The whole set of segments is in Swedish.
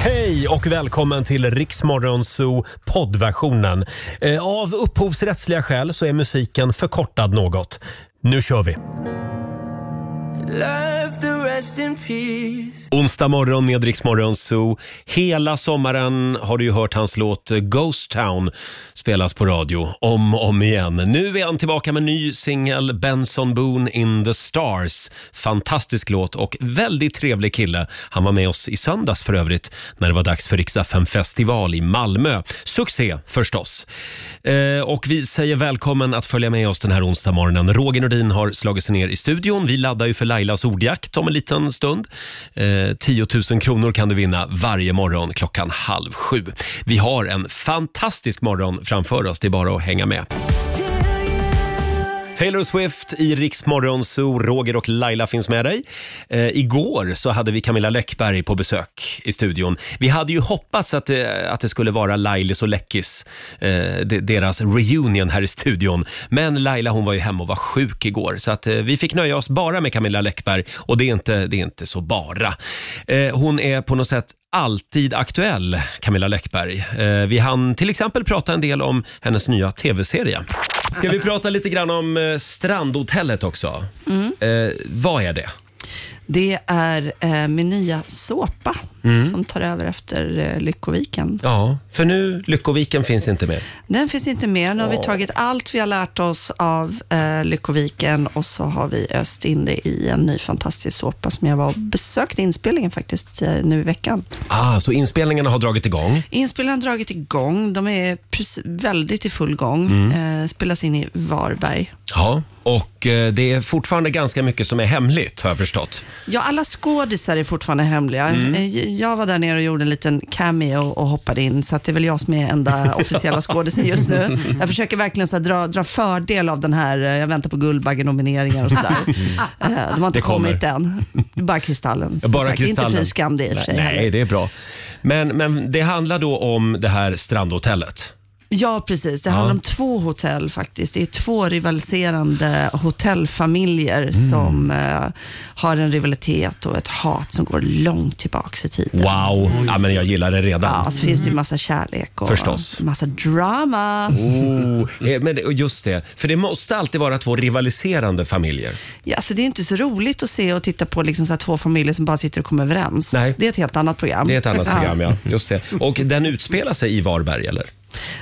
Hej och välkommen till Riksmorgonzoo poddversionen. Eh, Av upphovsrättsliga skäl så är musiken förkortad något. Nu kör vi! Love the rest in peace. Onsdag morgon med Riksmorgonzoo. Hela sommaren har du ju hört hans låt eh, Ghost Town spelas på radio om och om igen. Nu är han tillbaka med ny singel Benson Boone in the Stars. Fantastisk låt och väldigt trevlig kille. Han var med oss i söndags för övrigt när det var dags för Riksa 5 festival i Malmö. Succé förstås. Eh, och vi säger välkommen att följa med oss den här onsdag morgonen. Roger Nordin har slagit sig ner i studion. Vi laddar ju för Lailas ordjakt om en liten stund. Eh, 10 000 kronor kan du vinna varje morgon klockan halv sju. Vi har en fantastisk morgon framför oss. Det är bara att hänga med. Taylor Swift i Riksmorgon Zoo. Roger och Laila finns med dig. Eh, igår så hade vi Camilla Läckberg på besök i studion. Vi hade ju hoppats att det, att det skulle vara Lailis och Läckis, eh, de, deras reunion här i studion. Men Laila hon var ju hemma och var sjuk igår så att eh, vi fick nöja oss bara med Camilla Läckberg och det är inte, det är inte så bara. Eh, hon är på något sätt alltid aktuell, Camilla Läckberg. Eh, vi hann till exempel prata en del om hennes nya tv-serie. Ska vi prata lite grann om eh, Strandhotellet också? Eh, vad är det? Det är eh, min nya såpa som tar över efter eh, Lyckoviken. Ja, för nu Lyckoviken finns inte mer. Den finns inte med. Nu har vi tagit allt vi har lärt oss av eh, Lyckoviken och så har vi öst in det i en ny fantastisk såpa som jag var och besökte inspelningen faktiskt eh, nu i veckan. Ah, så inspelningarna har dragit igång. Inspelningen har dragit igång. De är precis, väldigt i full gång. Eh, spelas in i Varberg. Ja, och eh, det är fortfarande ganska mycket som är hemligt har jag förstått. Ja, alla skådisar är fortfarande hemliga. Mm. Eh, Jag var där nere och gjorde en liten cameo och hoppade in, så att det är väl jag som är enda officiella skådisen just nu. Jag försöker verkligen så här, dra, dra fördel av den här, eh, jag väntar på Guldbaggenomineringar och sådär. Eh, De har inte Det kommer. kommit än. Bara Kristallen. som Bara sagt. Kristallen. Inte fy skam det i och för sig. Nej, heller. det är bra. Men, men det handlar då om det här Strandhotellet. Ja, precis. Det handlar om två hotell faktiskt. Det är två rivaliserande hotellfamiljer Mm. som eh, har en rivalitet och ett hat som går långt tillbaks i tiden. Wow! Ja, men jag gillar det redan. Ja, så Alltså, finns det ju massa kärlek och Förstås. massa drama. Oh, eh, men det- och just det, för det måste alltid vara två rivaliserande familjer. Ja, alltså det är inte så roligt att se och titta på liksom så här två familjer som bara sitter och kommer överens. Nej. Det är ett helt annat program. Det är ett annat program, ja. Just det. Och den utspelar sig i Varberg, eller?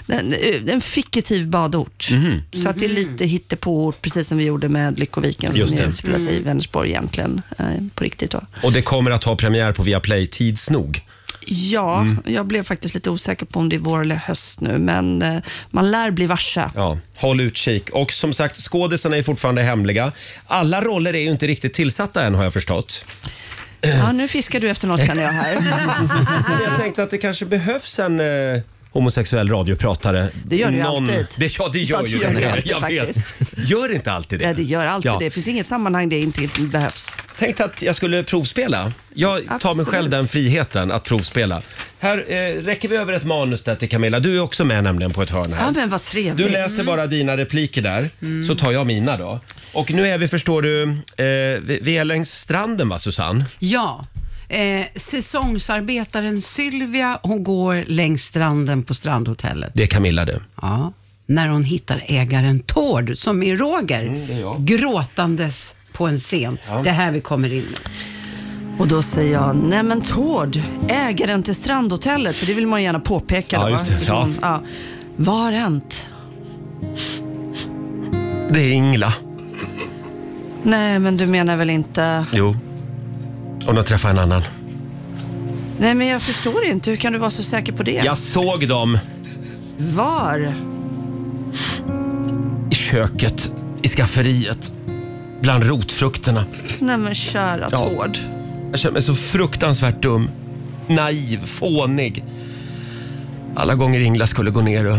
En, eh, en fiktiv badort. Mhm. Så att det är lite hittepåort, precis som vi gjorde med Lyckoviken Just som det. ju utspelar sig i Vänersborg egentligen, eh, på riktigt då. Och det kommer att ha premiär på Viaplay tids nog. Ja, Mm. jag blev faktiskt lite osäker på om det är vår eller höst nu, men eh, man lär bli varse. Ja, håll utkik. Och som sagt, skådisarna är fortfarande hemliga. Alla roller är ju inte riktigt tillsatta än har jag förstått. Ja, nu fiskar du efter något känner jag här. Men jag tänkte att det kanske behövs en eh, homosexuell radiopratare. Det gör det ju alltid. Det, ja, det gör Ja, det ju gör den det här. alltid, Jag vet. Gör inte alltid det. Ja, det gör alltid Ja. det. Det finns inget sammanhang det inte behövs. Tänkte att jag skulle provspela. Jag tar mig Absolut. själv den friheten att provspela. Här eh, räcker vi över ett manus där till Camilla. Du är också med nämligen på ett hörn här. Ja, Mm. men vad trevligt. Du läser bara dina repliker där, så tar jag mina då. Och nu är vi, förstår du, eh, vi, vi är längs stranden va Susanne? Ja. Eh, säsongsarbetaren Sylvia, hon går längs stranden på Strandhotellet. Det är Camilla du. Ja. När hon hittar ägaren Tord, som är Roger, Mm, det är jag. gråtandes på en scen. Det här vi kommer in i. Och då säger jag, nej men Tord, ägaren till Strandhotellet, för det vill man ju gärna påpeka. Ja, då, just det. eftersom- Ja. Vad har hänt? Det är Ingla. Nej, men du menar väl inte... Jo. Hon har träffat en annan. Nej, men jag förstår inte. Hur kan du vara så säker på det? Jag såg dem Var? i köket, i skafferiet, bland rotfrukterna. Nej men kära Ja. Tord. Jag känner mig så fruktansvärt dum, naiv, fånig. Alla gånger Ingla skulle gå ner och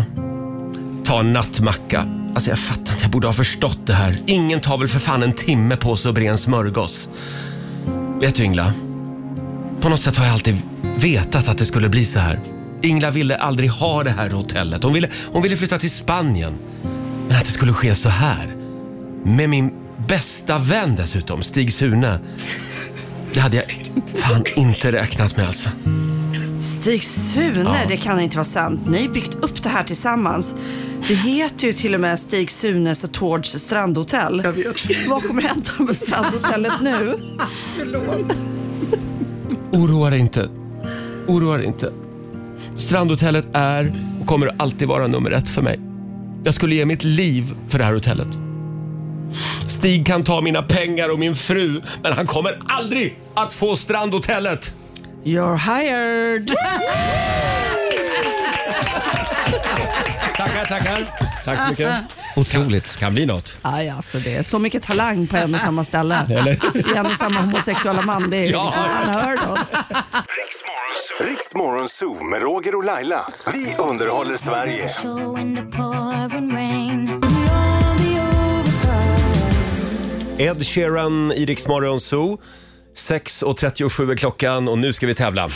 ta en nattmacka. Alltså jag fattar inte, jag borde ha förstått det här. Ingen tar väl för fan en timme på sig att bre en smörgås. Vet du Ingla? På något sätt har jag alltid vetat att det skulle bli så här. Ingla ville aldrig ha det här hotellet. Hon ville, hon ville flytta till Spanien. Men att det skulle ske så här. Med min bästa vän dessutom, Stig Sune. Det hade jag fan inte räknat med alltså. Stig Sune, det kan inte vara sant. Ni har byggt upp det här tillsammans. Det heter ju till och med Stig Sunes och Tords strandhotell. Jag vet. Vad kommer hända med strandhotellet nu? Oroa dig inte. Oroa dig inte. Strandhotellet är och kommer alltid vara nummer ett för mig. Jag skulle ge mitt liv för det här hotellet. Stig kan ta mina pengar och min fru, men han kommer aldrig att få Strandhotellet! You're hired! Tackar, tackar. Tack så mycket. Otroligt. Kan bli något. Aj, alltså det är så mycket talang på en och samma ställe. Eller? I en och samma homosexuella man. Det är liksom Ja. ja. hör då. Riksmorgon Zoo med Roger och Laila. Vi underhåller Sverige. Ed Sheeran i Rix Morgon Zoo. 6.37 är klockan och nu ska vi tävla.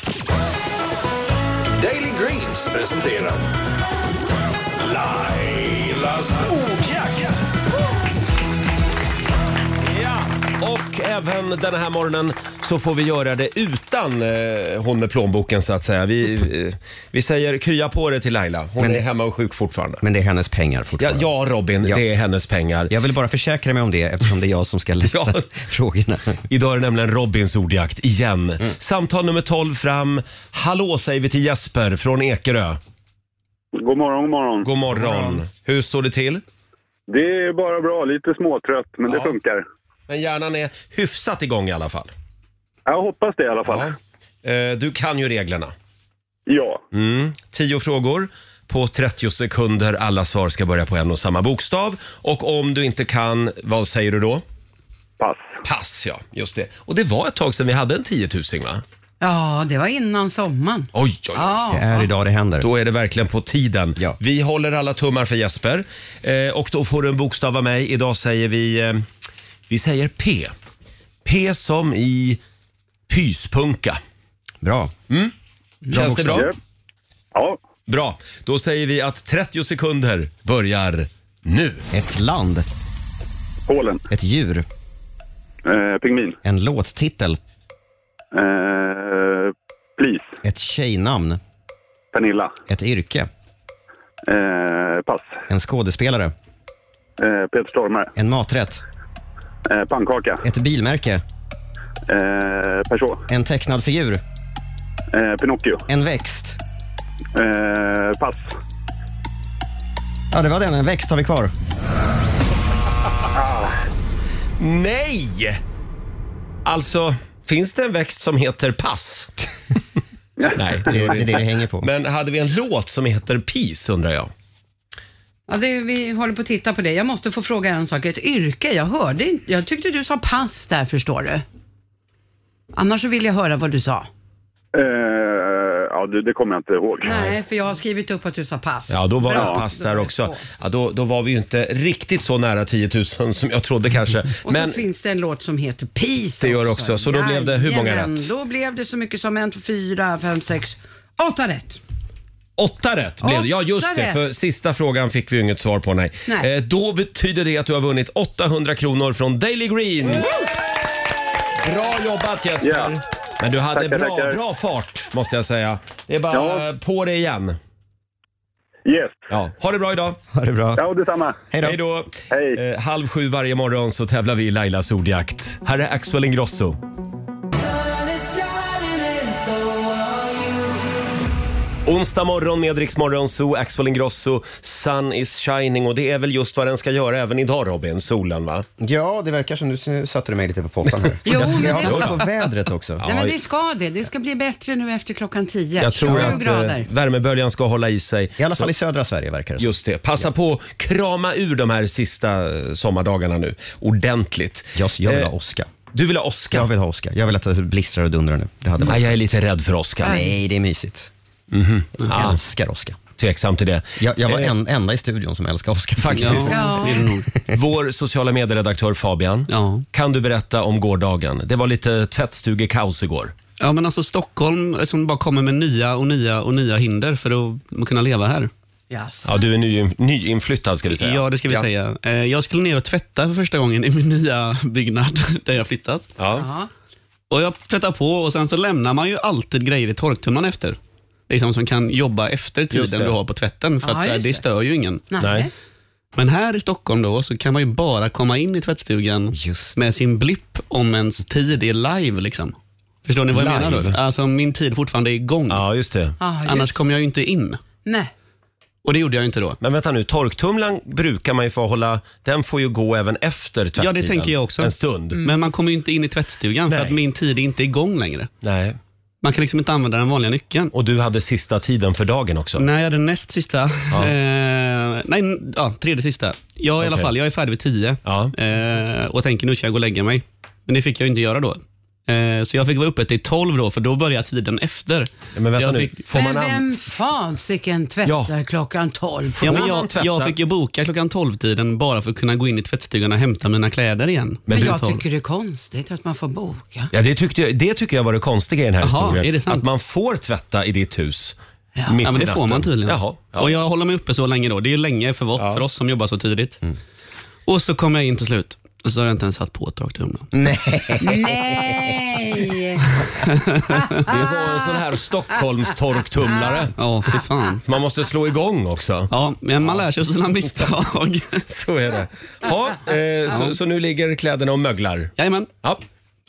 Daily Greens presenterar Lailas ordjakt. Ja, och även den här morgonen så får vi göra det utan eh, hon med plånboken så att säga. Vi, eh, vi säger krya på det till Laila. Hon Men det- är hemma och sjuk fortfarande. Men det är hennes pengar Ja, fortfarande. ja Robin, Ja. det är hennes pengar. Jag vill bara försäkra mig om det eftersom det är jag som ska läsa Ja. frågorna. Idag är det nämligen Robins ordjakt igen. Mm. Samtal nummer 12 fram. Hallå säger vi till Jesper från Ekerö. God morgon, god morgon. God morgon. Hur står det till? Det är bara bra, lite småtrött, men det funkar. Men hjärnan är hyfsat igång i alla fall. Jag hoppas det i alla fall. Ja. Eh, Du kan ju reglerna. Ja. Mm. Tio frågor på 30 sekunder. Alla svar ska börja på en och samma bokstav. Och om du inte kan, vad säger du då? Pass. Pass, ja. Just det. Och det var ett tag sedan vi hade en tiotusing, va? Ja, det var innan sommaren. Oj, oj, oj. Ja. Det är idag det händer. Då är det verkligen på tiden. Ja. Vi håller alla tummar för Jesper. Eh, och då får du en bokstav av mig. Idag säger vi... Eh, vi säger P. P som i pyspunka. Bra. Känns det bra? Ja. ja. Bra. Då säger vi att 30 sekunder börjar nu. Ett land, Polen. ett djur, Eh, pingvin. en låttitel, Eh, please. ett tjejnamn, Pernilla. ett yrke, Eh, pass. en skådespelare, Eh, Peter Stormare. en maträtt, Eh, pannkaka. ett bilmärke, Eh, Peugeot. en tecknad figur, Eh, Pinocchio. en växt. Eh, pass. Ja, det var den. En växt har vi kvar. Nej! Alltså, finns det en växt som heter pass? Nej, det Det gör är det det inte. det hänger på. Men hade vi en låt som heter Peace undrar jag? Ja, det, vi håller på att titta på det. Jag måste få fråga en sak. Ett yrke, jag hörde inte. Jag tyckte du sa pass där, förstår du. Annars så vill jag höra vad du sa. Eh, ja, du, det kommer jag inte ihåg. Nej, för jag har skrivit upp att du sa pass. Ja, då var det Bra. ett pass Då där var det också. två. Ja, då, då var vi ju inte riktigt så nära 10 000 som jag trodde kanske. Och Men så finns det en låt som heter Peace Det gör det också, så då blev det hur många Jajamän, rätt? Då blev det så mycket som en, två, fyra, fem, sex, åtta rätt. åtta rätt blev det. Ja, just Åtta det. rätt. För sista frågan fick vi ju inget svar på. Nej. Nej. Eh, då betyder det att du har vunnit 800 kronor från Daily Greens. Bra jobbat Jesper. Ja. Men du hade Tackar, bra, tackar. bra fart måste jag säga. Det är bara Ja. på det igen. Yes. Ja. Ha det bra idag. Ha det bra. Ja, detsamma. Hej då. Hej då. Hej. Eh, halv sju varje morgon så tävlar vi i Lailas ordjakt. Här är Axel Ingrosso. Onsdag morgon med Rix Morgon Zoo, Axel Ingrosso, Sun is shining och det är väl just vad den ska göra även idag Robin, solen va? Ja, det verkar som nu satte du mig lite på pottan här. Jo, jag tror jag men det har ska- koll på vädret också. Ja. Nej, men det ska det. Det ska bli bättre nu efter klockan tio. Jag tror 27 att eh, grader. värmeböljan ska hålla i sig. I alla fall i södra Sverige verkar det som. Just det, passa på att krama ur de här sista eh, sommardagarna nu ordentligt. Jag, jag vill Eh, ha åska. Du vill ha Oscar? Jag vill ha åska. Jag vill att det blistrar och dundrar nu. Det hade varit. Nej, jag är lite rädd för Oscar. Nej, det är mysigt. Ah. Jag älskar åska. Tveksam till det. Jag, jag var Eh. en, enda i studion som älskar åska faktiskt. Ja. det är det nog. Vår sociala medieredaktör Fabian, Ja. kan du berätta om gårdagen? Det var lite tvättstugekaos igår. Ja, men alltså Stockholm som bara kommer med nya och nya och nya hinder för att kunna leva här. Yes. Ja, du är ny, nyinflyttad ska vi säga. Ja, det ska vi säga. Eh, Jag skulle ner och tvätta för första gången i min nya byggnad där jag flyttat. Ja. Ja. Och Jag tvättar på och sen så lämnar man ju alltid grejer i torktumlaren efter. liksom, som kan jobba efter Just tiden det. du har på tvätten, för Ja, att, så här, just det det. stör ju ingen. Nej. Nej. Men här i Stockholm då, så kan man ju bara komma in i tvättstugan Just med sin blipp om ens tid är live. Liksom. Förstår ni vad jag Live? menar? Då? Alltså om min tid fortfarande är igång. Ja, just det. Ah, just. Annars kommer jag ju inte in. Nej. Och det gjorde jag ju inte då. Men vänta nu, torktumlaren brukar man ju få hålla, den får ju gå även efter tvättiden. Ja, det tänker jag också. Mm. En stund. Men man kommer ju inte in i tvättstugan Nej. för att min tid är inte igång längre. Nej. Man kan liksom inte använda den vanliga nyckeln. Och du hade sista tiden för dagen också. Nej, jag hade näst sista. Eh, nej, n- ja, tredje sista. Jag i alla Okej. fall, jag är färdig vid tio Ja. eh, och tänker nu ska jag gå och lägga mig. Men det fick jag ju inte göra då. Eh, så jag fick vara uppe till tolv då, för då börjar tiden efter. Men vänta så jag nu, Fick, får man men an... vem fasiken tvättar klockan 12? ja, men man jag, tvätta? jag fick ju boka klockan tolv-tiden bara för att kunna gå in i tvättstugan och hämta mina kläder igen. Men vid jag 12. tycker det är konstigt att man får boka. Ja, det, tyckte jag, det tycker jag var det konstiga i den här Jaha, historien. är det sant? Att man får tvätta i ditt hus. Ja. mitt Ja, men i det får natten. man tydligen. Jaha. Ja. Och jag håller mig uppe så länge då. Det är ju länge för, vår, för oss som jobbar så tidigt. Mm. Och så kommer jag in till slut. Och så har jag inte ens satt på torktumlaren. Mm. Nej! Det var en sån här Stockholmstorktumlare. Ja, fy fan. Man måste slå igång också. Ja, men man lär sig av sina misstag. Så är det. Ja, eh, så, så nu ligger kläderna och möglar. Jajamän, Ja,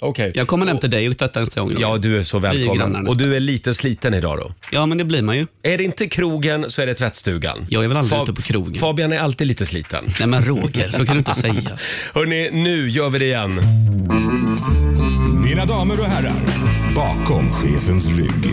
okej. jag kommer hem till dig och tvättar nästa gång. då. Ja, du är så är ju välkommen. grannar Och du är lite sliten idag då? ja, men det blir man ju. Är det inte krogen så är det tvättstugan. Jag är väl aldrig Fab- ute på krogen. Fabian är alltid lite sliten. Nej men Roger, så kan du inte säga. Hörni, nu gör vi det igen. Mina damer och herrar, bakom chefens rygg.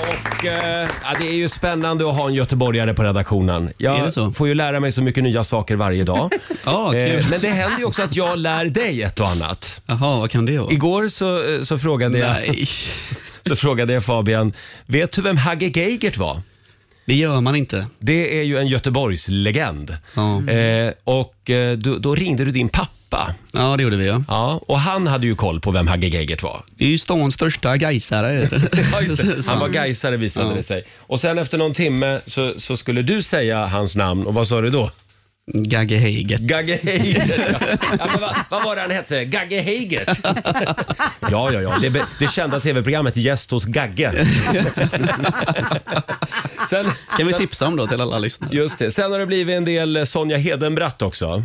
Och, eh, ja, det är ju spännande att ha en göteborgare på redaktionen. Är det Jag så? får ju lära mig så mycket nya saker varje dag. Ja, kul. Eh, men det händer ju också att jag lär dig ett och annat. Jaha, vad kan det vara? Igår så, eh, så, frågade, jag, Nej, så frågade jag Fabian, vet du vem Hagge Geigert var? det gör man inte. Det är ju en Göteborgslegend. Ja, Eh, och eh, då, då ringde du din pappa. ja det gjorde vi ja. Ja, och han hade ju koll på vem Hagge Geigert var. Vi är ju stans största gaisare. Ja, just det. Han var Gaisare visade det sig. Och sen efter någon timme så, så skulle du säga hans namn och vad sa du då? Gagge Heigert. Gagge Heigert. Ja, men vad, vad var det han hette? Gagge Heigert? Ja, ja, ja. Det, be- det kända tv-programmet Gäst hos Gagge. Sen, Kan vi tipsa om då till alla lyssnare? just det. Sen har det blivit en del eh, Sonja Hedenbratt också.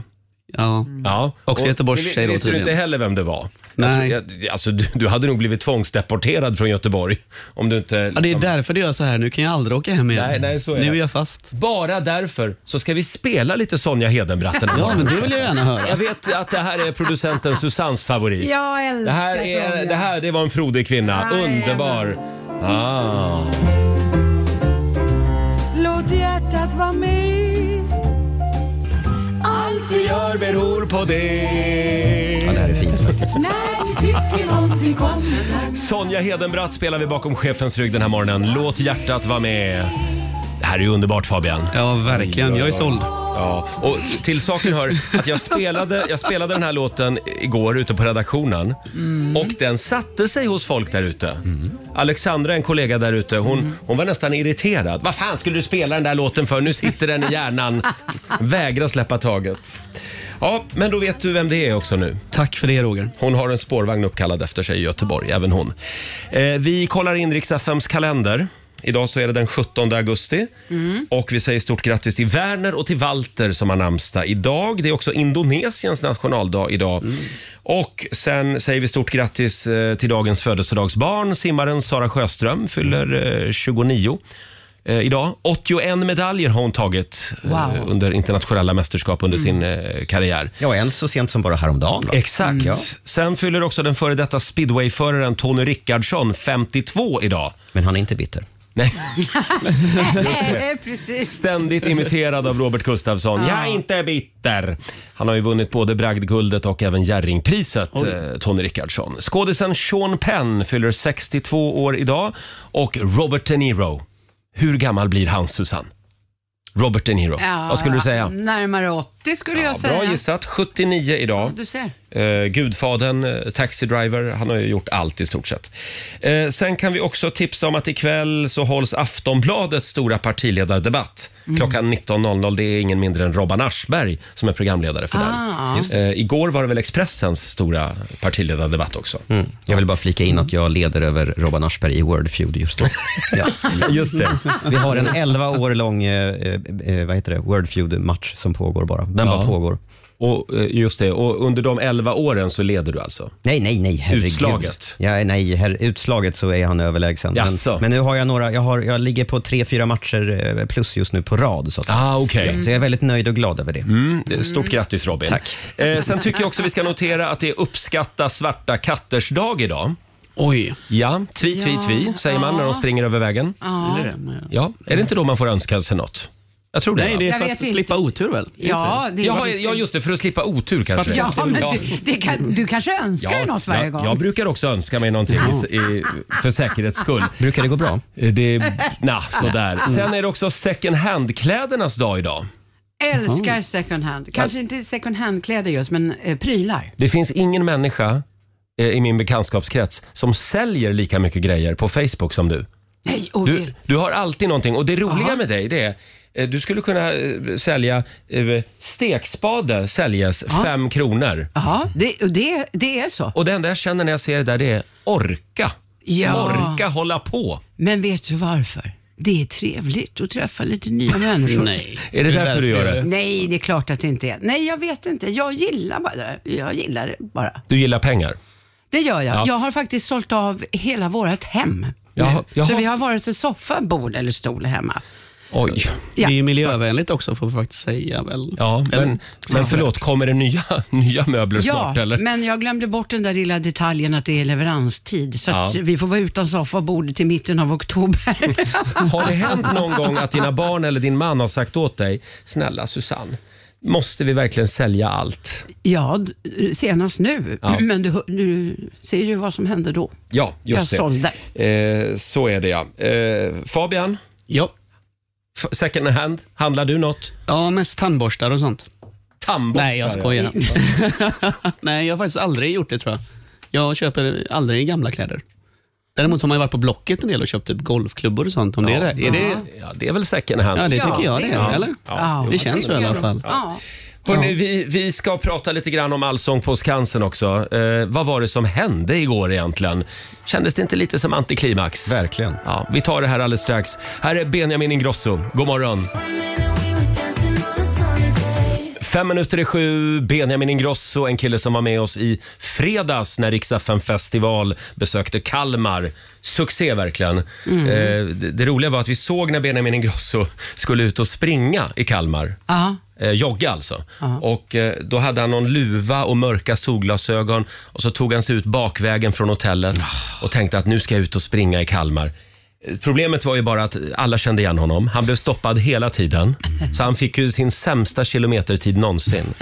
Ja. Ja. Också Och Göteborgstjej det då visste du inte tydligen. heller vem det var. Nej. Jag tror, jag, alltså, du, du hade nog blivit tvångsdeporterad från Göteborg om du inte... ja, det är liksom- därför det gör så här. Nu kan jag aldrig åka hem igen. Nej, nej, så är nu det. är jag fast. Bara därför så ska vi spela lite Sonja Hedenbratt den här Ja, men morgonen. det vill jag gärna höra. Jag vet att det här är producenten Susannes favorit. Jag älskar Det här, är, det här det var en frodig kvinna. Jajamän. Underbar. Ah. Låt hjärtat vara med. Vi gör beror på Ja, det det. här är fint faktiskt. När vi tycker någonting kommer. Sonja Hedenbratt spelar vi bakom chefens rygg den här morgonen. Låt hjärtat vara med. Det här är ju underbart Fabian. Ja, verkligen. Jag är såld. Ja, och till saken hör att jag spelade, jag spelade den här låten igår ute på redaktionen Mm. och den satte sig hos folk där ute. Alexandra, en kollega där ute, hon, Mm. hon var nästan irriterad. Vad fan skulle du spela den där låten för? Nu sitter den i hjärnan. Vägra släppa taget. Ja, men då vet du vem det är också nu. Tack för det Roger. Hon har en spårvagn uppkallad efter sig i Göteborg, även hon. Eh, vi kollar in riks kalender. Idag så är det den 17 augusti. Och vi säger stort grattis till Werner och till Walter som har namnsdag idag. Det är också Indonesiens nationaldag idag. Och sen säger vi stort grattis eh, till dagens födelsedagsbarn. Simmaren Sara Sjöström fyller eh, 29 eh, idag. 81 medaljer har hon tagit eh, Wow. under internationella mästerskap under sin eh, karriär. Ja, en så sent som bara häromdagen. Då. Exakt. Ja. Sen fyller också den före detta speedwayföraren Tony Rickardsson 52 idag. Men han är inte bitter. Nej, Nej, precis. ständigt imiterad av Robert Gustafsson. Jag är inte bitter. Han har ju vunnit både Bragdguldet och även Jerringpriset, eh, Tony Rickardsson. Skådisen Sean Penn fyller 62 år idag och Robert De Niro. Hur gammal blir han, Susanne? Robert De Niro. Vad skulle du säga? Närmare 80. 70 skulle Mm, jag säga. Bra gissat. 79 idag. Du ser. Eh, Gudfadern, eh, Taxi Driver, han har ju gjort allt i stort sett. Eh, sen kan vi också tipsa om att ikväll så hålls Aftonbladets stora partiledardebatt. Mm. Klockan 19.00, det är ingen mindre än Robban Aschberg som är programledare för Ah. Just den. Eh, igår var det väl Expressens stora partiledardebatt också. Mm. Jag vill bara flika in att jag leder över Robban Aschberg i Wordfeud just nu. Ja. Just det. Vi har en 11 år lång eh, eh, vad heter det? Wordfeud-match som pågår bara. Den bara Ja. pågår. Och, eh, just det, och under de 11 åren så leder du alltså? Nej, nej, nej, herregud. Utslaget? Ja, nej, herr, utslaget så är han överlägsen. Jaså. Men, men nu har jag några, jag, har, jag ligger på tre, fyra matcher eh, plus just nu på rad. Så, att säga. Ah, okej. Mm. så jag är väldigt nöjd och glad över det. Stort grattis Robin. Tack. Eh, sen tycker jag också vi ska notera att det är uppskatta svarta katters dag idag. Oj. Ja, tvi, tvi, Ja. tvi säger man när de Ja. springer över vägen. Ja. Ja, är det inte då man får önska sig något? Jag tror det. Nej, det är Jag för vet att inte. slippa otur väl? Ja, det är- ja, ja, just det, för att slippa otur kanske. Ja, men du, det kan, du kanske önskar dig något varje jag, gång? Jag brukar också önska mig någonting i, i, för säkerhets skull. Eh, Brukar det gå bra? Det, na, sådär. Mm. Sen är det också second hand-klädernas dag idag. Älskar second hand. Kanske inte second hand-kläder just, men eh, prylar. Det finns ingen människa eh, i min bekantskapskrets som säljer lika mycket grejer på Facebook som du. Nej, Du, du har alltid någonting och det roliga med dig det är eh, du skulle kunna eh, sälja eh, stekspade säljes fem kronor. Ja, det, och det, det är så. Och det enda jag känner när jag ser det där det är orka. Ja. Orka hålla på. Men vet du varför? Det är trevligt att träffa lite nya människor. Nej. Är det därför du gör det? Nej, det är klart att det inte är. Nej, jag vet inte. Jag gillar bara det. Jag gillar det bara. Du gillar pengar? Det gör jag. Ja. Jag har faktiskt sålt av hela vårt hem. Jaha, Så jaha. vi har vare sig soffa, bord eller stol hemma. Oj. Ja. Det är ju miljövänligt också får vi faktiskt säga väl. Ja, men, men förlåt, kommer det nya, nya möbler snart eller? men jag glömde bort den där lilla detaljen att det är leveranstid. Så att Ja. vi får vara utan soffa och bord till mitten av oktober. Har det hänt någon gång att dina barn eller din man har sagt åt dig, snälla Susanne, måste vi verkligen sälja allt? Ja, d- senast nu. Ja. Men du, hör- du ser ju vad som hände då. Ja, just jag det. sålde. Eh, så är det ja. Eh, Fabian? Ja. Second hand, handlar du något? Ja, mest tandborstar och sånt. Tandborstar? Nej, jag skojar. Nej, jag har faktiskt aldrig gjort det tror jag. Jag köper aldrig gamla kläder. Däremot har man ju varit på Blocket en del och köpt typ golfklubbor och sånt. Om det är det. Är det... Ja, det är väl second hand? Ja, det tycker jag det är, typ- Ja. eller? Ja. Det känns så i alla fall. Ja. Hörrni, vi, vi ska prata lite grann om Allsång på Skansen också. Eh, vad var det som hände igår egentligen? Kändes det inte lite som antiklimax? Verkligen. Ja, vi tar det här alldeles strax. Här är Benjamin Ingrosso. God morgon. Fem minuter i sju, Benjamin Ingrosso, en kille som var med oss i fredags när Rix FM festival besökte Kalmar. Succé verkligen. Mm. Eh, det, det roliga var att vi såg när Benjamin Ingrosso skulle ut och springa i Kalmar. Ja. Eh, jogga alltså. Och eh, då hade han någon luva och mörka solglasögon och så tog han sig ut bakvägen från hotellet och tänkte att nu ska jag ut och springa i Kalmar. Eh, Problemet var ju bara att alla kände igen honom. Han blev stoppad hela tiden. Så han fick ju sin sämsta kilometertid någonsin.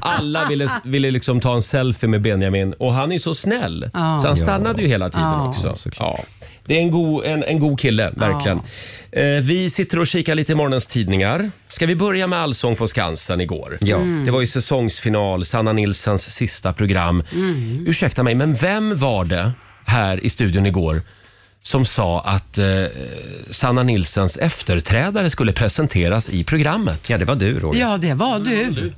Alla ville, ville liksom ta en selfie med Benjamin och han är så snäll. Ja. Så han stannade ju hela tiden Ja. också. Ja. Det är en god, en, en god kille, verkligen. Eh, vi sitter och kikar lite i morgonens tidningar. Ska vi börja med Allsång på Skansen igår? Ja. Mm. Det var ju säsongsfinal, Sanna Nilssons sista program. Mm. Ursäkta mig, men vem var det här i studion igår som sa att eh, Sanna Nilssons efterträdare skulle presenteras i programmet? Ja, det var du Roger. ja, det var du.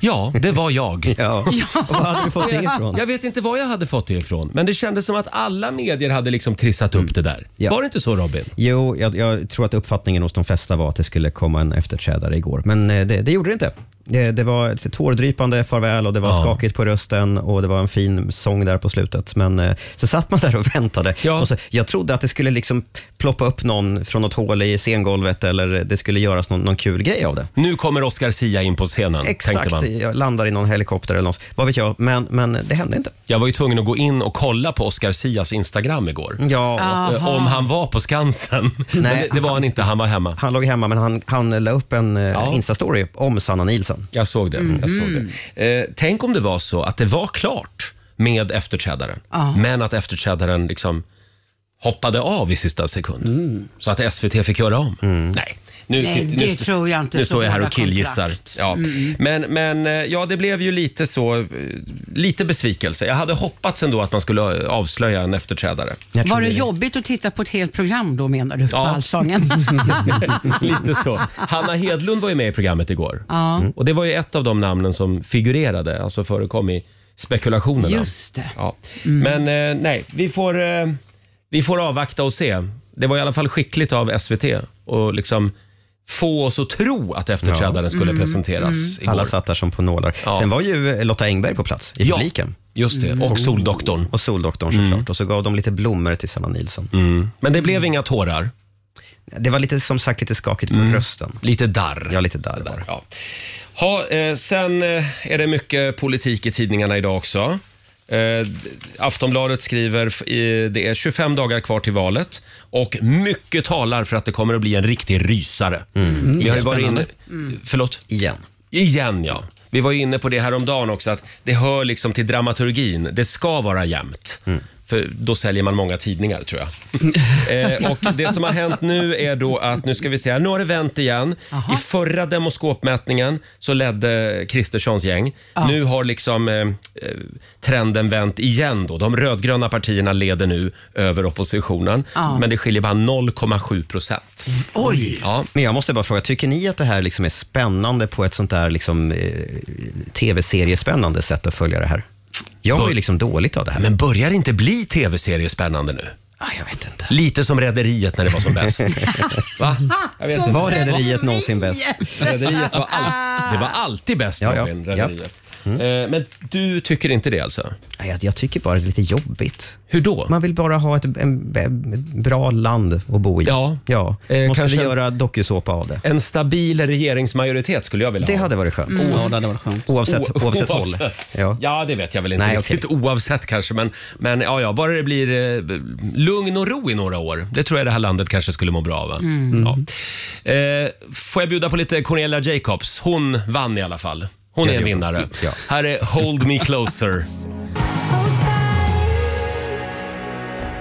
Ja, det var jag. Ja. Var hade du fått det ifrån? Jag vet inte var jag hade fått det ifrån, men det kändes som att alla medier hade liksom trissat upp det där. Var det inte så Robin? Jo, jag, jag tror att uppfattningen hos de flesta var att det skulle komma en efterträdare igår, men eh, det, det gjorde det inte. Det, det var ett tårdrypande farväl och det var Ja. skakigt på rösten och det var en fin sång där på slutet. Men eh, så satt man där och väntade. Och så, jag trodde att det skulle liksom ploppa upp någon från något hål i scengolvet eller det skulle göras någon, någon kul grej av det. Nu kommer Oscar Sia in på scenen, tänkte Exakt, man. jag landar i någon helikopter eller något, vad vet jag, men, men det hände inte. Jag var ju tvungen att gå in och kolla på Oscar Sias Instagram igår. Ja. Eh, Om han var på Skansen. Men det, det var han inte, han var hemma. Han låg hemma, men han, han la upp en eh, Insta-story om Sanna Nilsson. Jag såg det. Jag såg Mhm. Mm-hmm. det. Eh, tänk om det var så att det var klart med efterträdaren, Ja. men att efterträdaren liksom hoppade av i sista sekund. Så att SVT fick göra om. Nej, nu, Mm. Nej, sitter- det nu, tror jag inte, nu så står jag här hårda och killgissar. kontrakt. Ja. Mm. Men, men eh, ja, det blev ju lite så, eh, lite besvikelse. Jag hade hoppats ändå att man skulle eh, avslöja en efterträdare. Var det jobbigt att titta på ett helt program då menar du? På Allsången? Lite så. Hanna Hedlund var ju med i programmet igår. Ja. Mm. Och det var ju ett av de namnen som figurerade, alltså förekom i spekulationerna. Just det. Mm. Ja. Men eh, nej, vi får, eh, vi får avvakta och se. Det var i alla fall skickligt av SVT och liksom få oss att tro att efterträdaren Ja. skulle Mm. presenteras Mm. igår. Alla satt där som på nålar. Sen var ju eh, Lotta Engberg på plats i Ja, Mm. publiken. Mm. just det. Mm. Och Soldoktorn. Och Soldoktorn såklart. Och så gav de lite blommor till Sanna Nilsson. Mm. Men det blev inga tårar? Det var lite, som sagt lite skakigt på rösten. Lite darr. Ja, lite darr var det. Mm. Ja. Ha, eh, sen eh, är det mycket politik i tidningarna idag också. Eh, Aftonbladet skriver f- i, det är 25 dagar kvar till valet och mycket talar för att det kommer att bli en riktig rysare. Mm. Vi har ju varit inne, Spännande. förlåt? Igen. Igen ja. Vi var ju inne på det här om dagen också att det hör liksom till dramaturgin. Det ska vara jämnt. Mm. För då säljer man många tidningar tror jag. Eh, och det som har hänt nu är då att, nu ska vi se här, nu har det vänt igen. I förra demoskopmätningen så ledde Kristerssons gäng. Ja. Nu har liksom eh, eh, trenden vänt igen då. De rödgröna partierna leder nu över oppositionen. Ja. Men det skiljer bara 0,7 procent. Oj! Ja. Men jag måste bara fråga, tycker ni att det här liksom är spännande på ett sånt där liksom, eh, tv-seriespännande sätt att följa det här? Jag mår ju liksom dåligt av det här. Men börjar det inte bli tv-serier spännande nu? Ah, jag vet inte. Lite som Rederiet när det var som bäst. Va? Jag vet inte. Var Rederiet någonsin bäst? Rederiet var, all... det var alltid bäst, Ja, ja. Robin. Rederiet. Eh, Men du tycker inte det alltså? Nej, jag, jag tycker bara det är lite jobbigt. Hur då? Man vill bara ha ett en, en, bra land att bo i. Ja. ja. Eh, Måste kanske- vi göra dokusåpa av det? En stabil regeringsmajoritet skulle jag vilja Det ha. hade varit skönt. Ja, det hade varit skönt. Oavsett, O- oavsett, håll. oavsett. Ja. Ja. det vet jag väl inte Nej, riktigt. Oavsett kanske, men, men ja, ja, bara det blir eh, b- lugn och ro i några år. Det tror jag det här landet kanske skulle må bra av. va? Ja. Eh, får jag bjuda på lite Cornelia Jacobs? Hon vann i alla fall. Hon Ja, är en det gjorde vinnare. hon. Ja. Här är Hold Me Closer.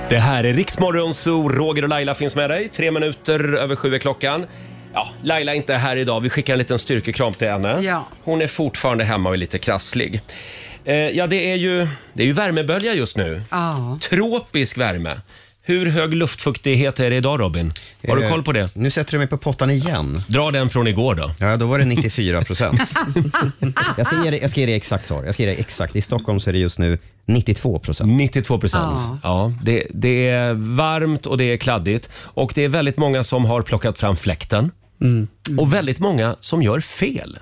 Det här är Riksmorgon Zoo. Roger och Laila finns med dig. Tre minuter över sju är klockan. Ja, Laila är inte här idag. Vi skickar en liten styrkekram till henne. Ja. Hon är fortfarande hemma och är lite krasslig. Eh, ja, det är ju, det är ju värmebölja just nu. Ja. Tropisk värme. Hur hög luftfuktighet är det idag, Robin? Har du Eh, koll på det? Nu sätter du mig på pottan igen. Dra den från igår då. Ja, då var det 94 procent. jag, ska ge dig- jag ska ge dig exakt svar. Jag ska ge dig exakt. I Stockholm så är det just nu 92 procent. 92 procent. Ja. Ja, det, det är varmt och det är kladdigt. Och det är väldigt många som har plockat fram fläkten. Mm. Och väldigt många som gör fel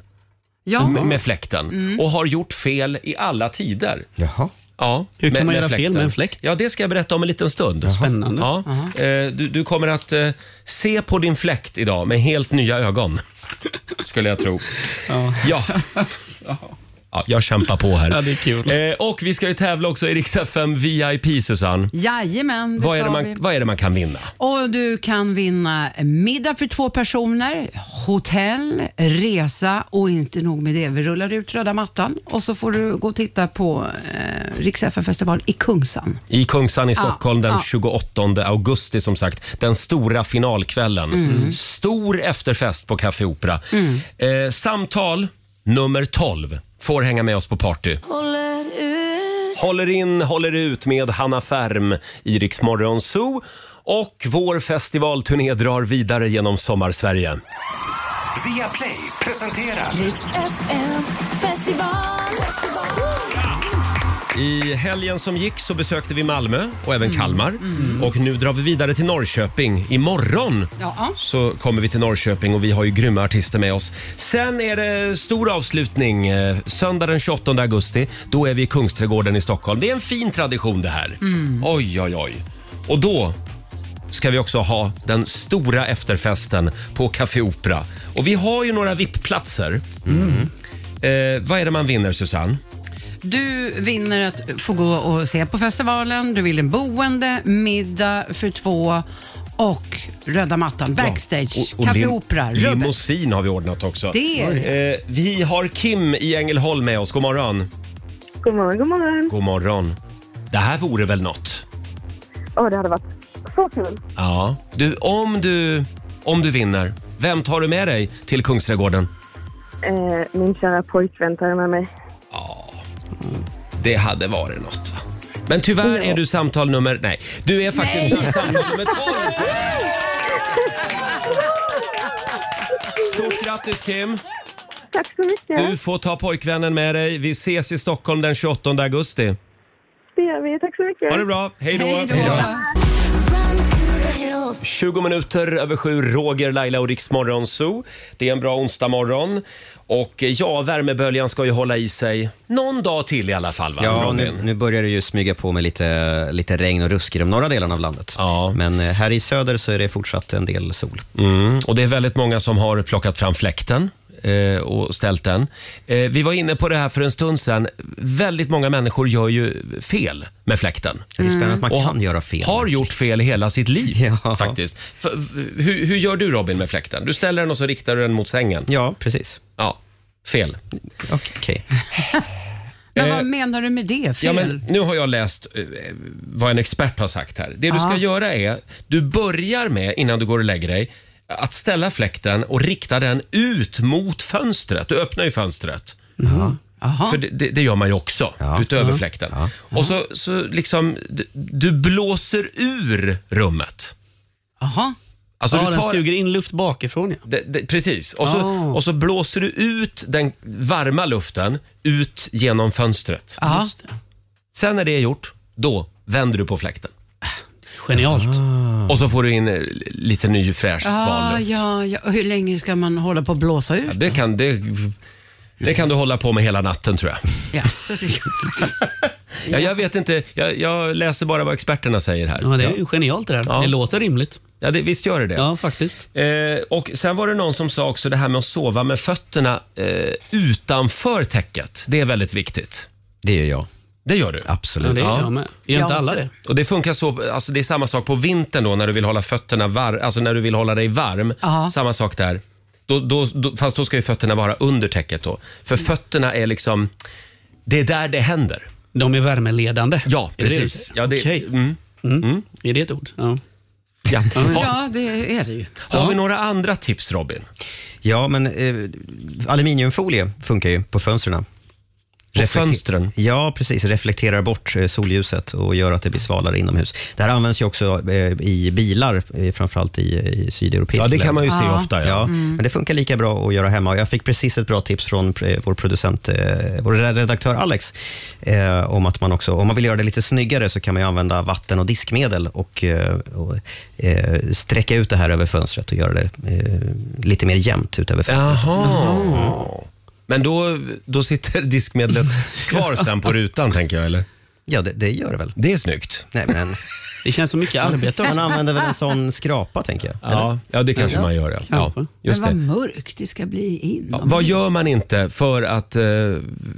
Ja. Mm. med, med fläkten. Och har gjort fel i alla tider. Jaha. Ja, Hur kan man göra fel med en fläkt? Ja, det ska jag berätta om en liten stund. Spännande. Ja, eh, du, du kommer att eh, se på din fläkt idag med helt nya ögon. Skulle jag tro. Ja. ja. jag kämpar på här. Ja, det är kul. Eh, och vi ska ju tävla också i Rix FM VIP, Susanne. Jajamän, det Vad är, ska det vi. man, vad är det man kan vinna? Och du kan vinna middag för två personer, hotell, resa och inte nog med det. Vi rullar ut röda mattan och så får du gå och titta på eh, Rix festival i Kungsan. I Kungsan i Stockholm den ja. 28 augusti som sagt. Den stora finalkvällen. Mm. Mm. Stor efterfest på Café Opera. Eh, samtal nummer 12 får hänga med oss på party. Håller ut. Håller in, håller ut med Hanna Färm i Rix Morgon Zoo. Och vår festivalturné drar vidare genom sommarsverige. Via Play presenterar FM festival. I helgen som gick så besökte vi Malmö och även Kalmar. Och nu drar vi vidare till Norrköping. Imorgon Ja. så kommer vi till Norrköping och vi har ju grymma artister med oss. Sen är det stor avslutning. eh, Söndag den 28 augusti. Då är vi i Kungsträdgården i Stockholm. Det är en fin tradition det här. Oj, oj, oj. Och då ska vi också ha den stora efterfesten på Café Opera. Och vi har ju några VIP-platser. Eh, vad är det man vinner, Susanne? Du vinner att få gå och se på festivalen, du vill en boende, middag för två och röda mattan, backstage, Café lim- Opera, Rubbet. Limousin har vi ordnat också. Det är det. Eh, vi har Kim i Ängelholm med oss. God morgon. God morgon, god morgon. God morgon. Det här vore väl något? Åh, det hade varit Så kul. Ja. Du, om, du, om du vinner, vem tar du med dig till Kungsträdgården? Eh, min kära pojkvän tar med mig. Det hade varit något. va? Men tyvärr är du samtal nummer... Nej, du är faktiskt samtal nummer 12. Stort grattis Kim! Tack så mycket. Du får ta pojkvännen med dig. Vi ses i Stockholm den 28 augusti. Det gör vi. Tack så mycket. Ha det bra. Hej då. Hej då. Hej då. 20 minuter över sju, Roger, Laila och Riksmorgon Zoo. Det är en bra onsdagmorgon. Och eh, ja, värmeböljan ska ju hålla i sig någon dag till i alla fall, va? Ja, Robin? nu, nu börjar det ju smyga på med lite, lite regn och rusk i de norra delarna av landet. Men eh, här i söder så är det fortsatt en del sol. Mm, och det är väldigt många som har plockat fram fläkten eh, och ställt den. Eh, vi var inne på det här för en stund sedan. Väldigt många människor gör ju fel med fläkten. Det är spännande att man Och kan ha- göra fel. Har gjort fel hela sitt liv faktiskt. För, hur, hur gör du Robin med fläkten? Du ställer den och så riktar du den mot sängen. Ja, precis. Ja, fel. Okej. Men Eh, vad menar du med det? Fel? Ja, men nu har jag läst eh, vad en expert har sagt här. Det du Ja. ska göra är, du börjar med, innan du går och lägger dig, att ställa fläkten och rikta den ut mot fönstret. Du öppnar ju fönstret. För det, det, det gör man ju också, utöver Mm. Ja. fläkten. Och så, så liksom, du, du blåser ur rummet. Jaha. Alltså, ja, du den tar- suger in luft bakifrån. Ja. Det, det, precis. Och så, Ah. och så blåser du ut den varma luften ut genom fönstret. Ja. Sen när det är gjort, då vänder du på fläkten. Genialt. Och så får du in eh, lite ny fräsch Ah, Ja, svalluft. Ah, ja, ja. Och Hur länge ska man hålla på och blåsa Ja, ut? det, kan, det, det kan du hålla på med hela natten tror jag. Ja. Så det... Ja, jag vet inte, jag, jag läser bara vad experterna säger här. Ja, det är ju genialt det där. Det låter rimligt. Ja, det, visst gör det det? Ja, faktiskt. Eh, och sen var det någon som sa också det här med att sova med fötterna eh, utanför täcket. Det är väldigt viktigt. Det gör jag. Det gör du? Absolut. Ja, det gör jag med. Gör inte Ja, alla så- det? Och det funkar så, alltså det är samma sak på vintern då när du vill hålla fötterna var, alltså när du vill hålla dig varm. Ja. Samma sak där. Då, då, då, fast då ska ju fötterna vara under täcket då. För Mm. fötterna är liksom, det är där det händer. De är värmeledande. Ja, Är det det du precis. säger? Ja, det- Okej. Mm. Är det ett ord? Ja. Ja. ja, det är det ju. Har vi några andra tips Robin? Ja, men eh, aluminiumfolie funkar ju på fönstren. På fönstren? Ja, precis. Reflekterar bort eh, solljuset och gör att det blir svalare inomhus. Det här används ju också eh, i bilar, eh, framförallt i, i sydeuropeiska Ja, det kan man ju se länder. Ja. ofta, ja. Mm. Men det funkar lika bra att göra hemma. Och Jag fick precis ett bra tips från eh, vår producent, eh, vår redaktör Alex, eh, om att man också, om man vill göra det lite snyggare så kan man ju använda vatten och diskmedel och, eh, och eh, sträcka ut det här över fönstret och göra det eh, lite mer jämnt ut över fönstret. Jaha. Men då, då sitter diskmedlet kvar sen på rutan tänker jag eller? Ja, det, det gör det väl. Det är snyggt. Nej, men... Det känns så mycket arbete Man också. använder väl en sån skrapa, tänker jag? Ja, ja det kanske Ja. man gör. Ja. Ja, just men det. vad mörkt det ska bli in. Ja, vad gör man inte för att eh,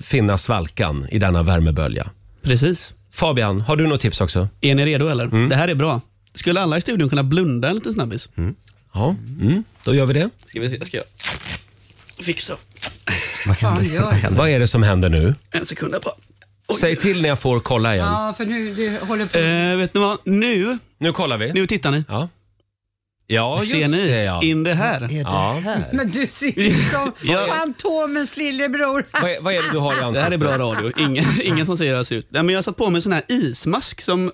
finna svalkan i denna värmebölja? Precis. Fabian, har du något tips också? Är ni redo eller? Det här är bra. Skulle alla i studion kunna blunda en liten snabbis? Ja, mm, då gör vi det. Ska vi se, ska jag fixa. Vad, Fan, gör jag? Vad är det som händer nu? En sekund där bara. Säg till när jag får kolla igen. Ja, för nu det håller på. Eh, vet ni vad? Nu, nu kollar vi. Nu tittar ni. Ja, ja just Ser ni det ja. Mm. in det här? är det Ja. här? Men du ser ju som Ja. Fantomens lillebror. är det du har i ansiktet? Det här är bra radio. Ingen, ingen som säger hur jag ser ut. Nej, men jag har satt på mig en sån här ismask som,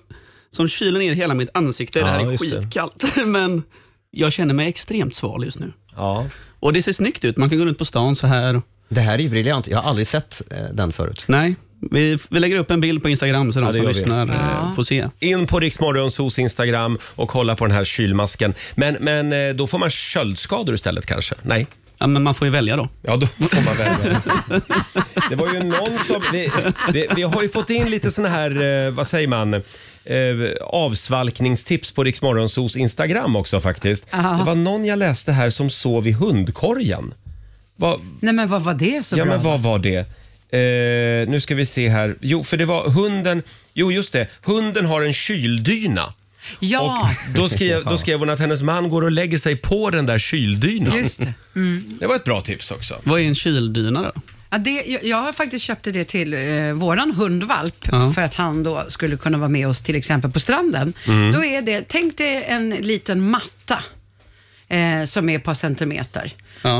som kyler ner hela mitt ansikte. det här Ja, är just det. skitkallt, men jag känner mig extremt sval just nu. Ja. Och det ser snyggt ut. Man kan gå runt på stan så här. Det här är ju briljant. Jag har aldrig sett eh, den förut. Nej, vi, vi lägger upp en bild på Instagram så de Ja, det som gör vi. lyssnar eh, får se. In på Riksmorgonsos Instagram och kolla på den här kylmasken. Men, men eh, då får man köldskador istället kanske? Nej? Ja, men man får ju välja då. Ja, då får man välja. Det var ju någon som... Vi, vi, vi har ju fått in lite såna här, eh, vad säger man, eh, avsvalkningstips på Riksmorgonsos Instagram också faktiskt. Ja. Det var någon jag läste här som sov i hundkorgen. Vad, Nej, men vad var det så ja, bra? men vad var det? Eh, nu ska vi se här. Jo, för det var hunden... Jo, just det. Hunden har en kyldyna. Ja. Och då, skrev, då skrev hon att hennes man går och lägger sig på den där kyldynan. Just det. Mm. Det var ett bra tips också. Vad är en kyldyna då? Ja, det, jag, jag faktiskt köpte det till eh, våran hundvalp Ja. för att han då skulle kunna vara med oss till exempel på stranden. Mm. Då är det, tänk dig en liten matta eh, som är ett par centimeter.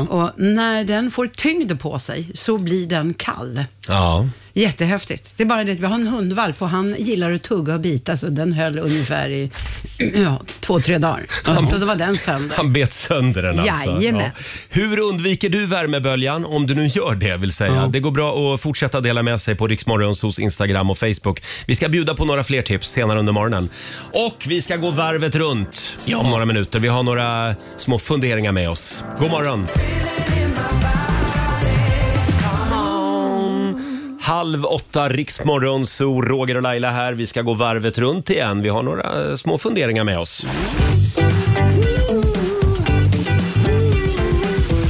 Och när den får tyngd på sig så blir den kall. Ja. Jättehäftigt. Det är bara det att vi har en hundvalp och han gillar att tugga och bita så den höll ungefär i ja, två, tre dagar. Så, så då var den sönder. Han bet sönder den alltså. Jajamän. Hur undviker du värmeböljan, om du nu gör det vill säga? Det går bra att fortsätta dela med sig på Riksmorgons hos Instagram och Facebook. Vi ska bjuda på några fler tips senare under morgonen. Och vi ska gå varvet runt om några minuter. Vi har några små funderingar med oss. God morgon! Halv åtta, Riksmorgon, så Roger och Laila här. Vi ska gå varvet runt igen. Vi har några eh, små funderingar med oss.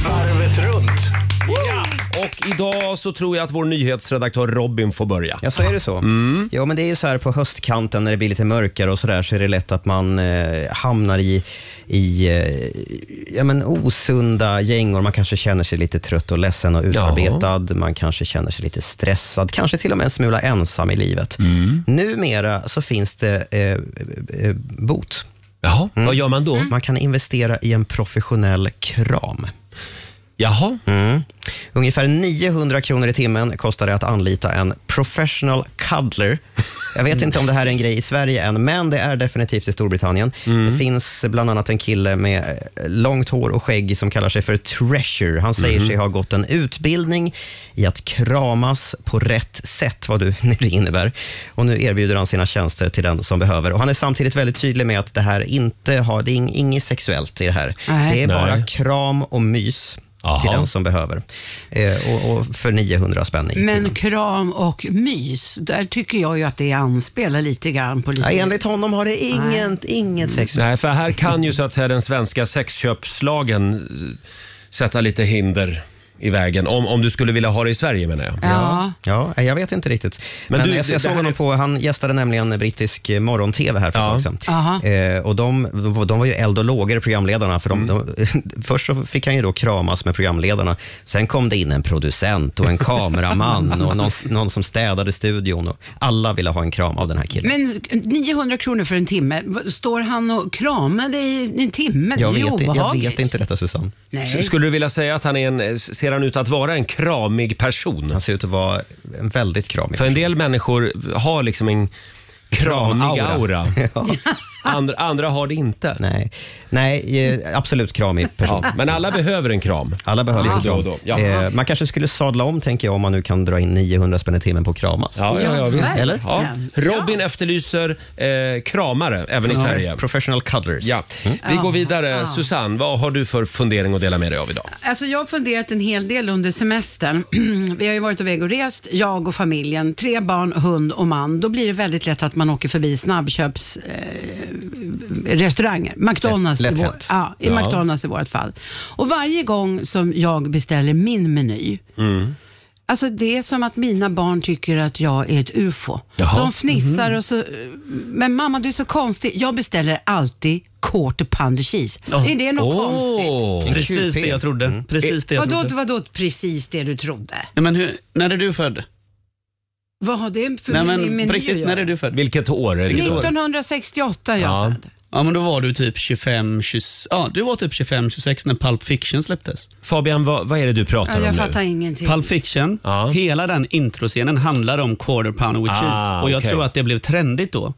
Varvet runt. Och idag så tror jag att vår nyhetsredaktör Robin får börja. Ja, så är det så. Ja, men det är ju så här på höstkanten när det blir lite mörkare och så där så är det lätt att man eh, hamnar i, i eh, ja, men osunda gängor. Man kanske känner sig lite trött och ledsen och utarbetad. Man kanske känner sig lite stressad, kanske till och med en smula ensam i livet. Numera så finns det eh, eh, bot. Jaha, vad gör man då? Man kan investera i en professionell kram. Jaha. Mm. Ungefär 900 kronor i timmen kostar det att anlita en professional cuddler. Jag vet inte om det här är en grej i Sverige än, men det är definitivt i Storbritannien. Mm. Det finns bland annat en kille med eh, långt hår och skägg som kallar sig för Treasure. Han säger Mhm. sig ha gått en utbildning i att kramas på rätt sätt, vad du nu det innebär. Och nu erbjuder han sina tjänster till den som behöver. Och han är samtidigt väldigt tydlig med att det här inte har, det är ing- inget sexuellt i det här. Nej. Det är bara Nej. kram och mys till den som behöver. Eh, och, och för 900 spänn. i timmen. Men kram och mys, där tycker jag ju att det anspelar lite grann på lite... Ja, enligt honom har det inget, inget Mm. sexuellt. Nej, för här kan ju så att säga den svenska sexköpslagen eh, sätta lite hinder i vägen. Om, om du skulle vilja ha det i Sverige menar jag. Ja. Ja, jag vet inte riktigt. Men Men, du, jag, det- jag det såg här honom på, han gästade nämligen brittisk eh, morgon-tv här för ett tag Aha. sedan. Eh, och de, de- de var ju eld och lågor programledarna. För de, Mm. de, först så fick han ju då kramas med programledarna. Sen kom det in en producent och en kameraman och någon, någon som städade studion. Och alla ville ha en kram av den här killen. Men 900 kronor för en timme, V- står han och kramar dig i en timme? jag, det är vet, ju jag obehagligt. vet inte detta Susanne. Nej. Skulle du vilja säga att han är en, ser han ut att vara en kramig person? Han ser ut att vara en väldigt kramig För en del människor har liksom en kramig Kramaura. aura. Andra, andra har det inte. Nej, Nej eh, absolut kramig person. Ja, men alla behöver en kram. Alla behöver Lite lite då och kram. då. Ja. Eh, man kanske skulle sadla om tänker jag om man nu kan dra in 900 spänn i timmen på att kramas. Ja, ja, ja, visst. Eller? Ja. Robin efterlyser eh, kramare även i Ja, Sverige. Professional cuddlers. Ja. Mm. Vi går vidare. Susanne, vad har du för fundering att dela med dig av idag? Alltså jag har funderat en hel del under semestern. Vi har ju varit iväg och rest, jag och familjen, tre barn, hund och man. Då blir det väldigt lätt att man åker förbi snabbköpsrestauranger. Eh, restauranger. McDonalds, Lätt- i, vår, lätt ja, hänt. i Ja. McDonalds i vårt fall. Och varje gång som jag beställer min meny, Mm. Alltså det är som att mina barn tycker att jag är ett ufo. Jaha. Mhm. De fnissar och så, men mamma du är så konstig. Jag beställer alltid quarter pounder cheese. Ja. Är det något Åh, konstigt? Precis det jag trodde. Mm. Precis det jag vadå, trodde. Vadå precis det du trodde? Ja, men hur, när är du född? Vad har det för Nej, men min på riktigt, när är du född? Vilket år är 1968 jag född. Ja, men då var du typ 25, 26, ja, du var typ 25, 26 när Pulp Fiction släpptes. Fabian, vad, vad är det du pratar Ja, jag fattar ingenting. Pulp Fiction, hela den introscenen handlar om quarter pounder with Ah, cheese. Och jag okej. Mm. tror att det blev trendigt då.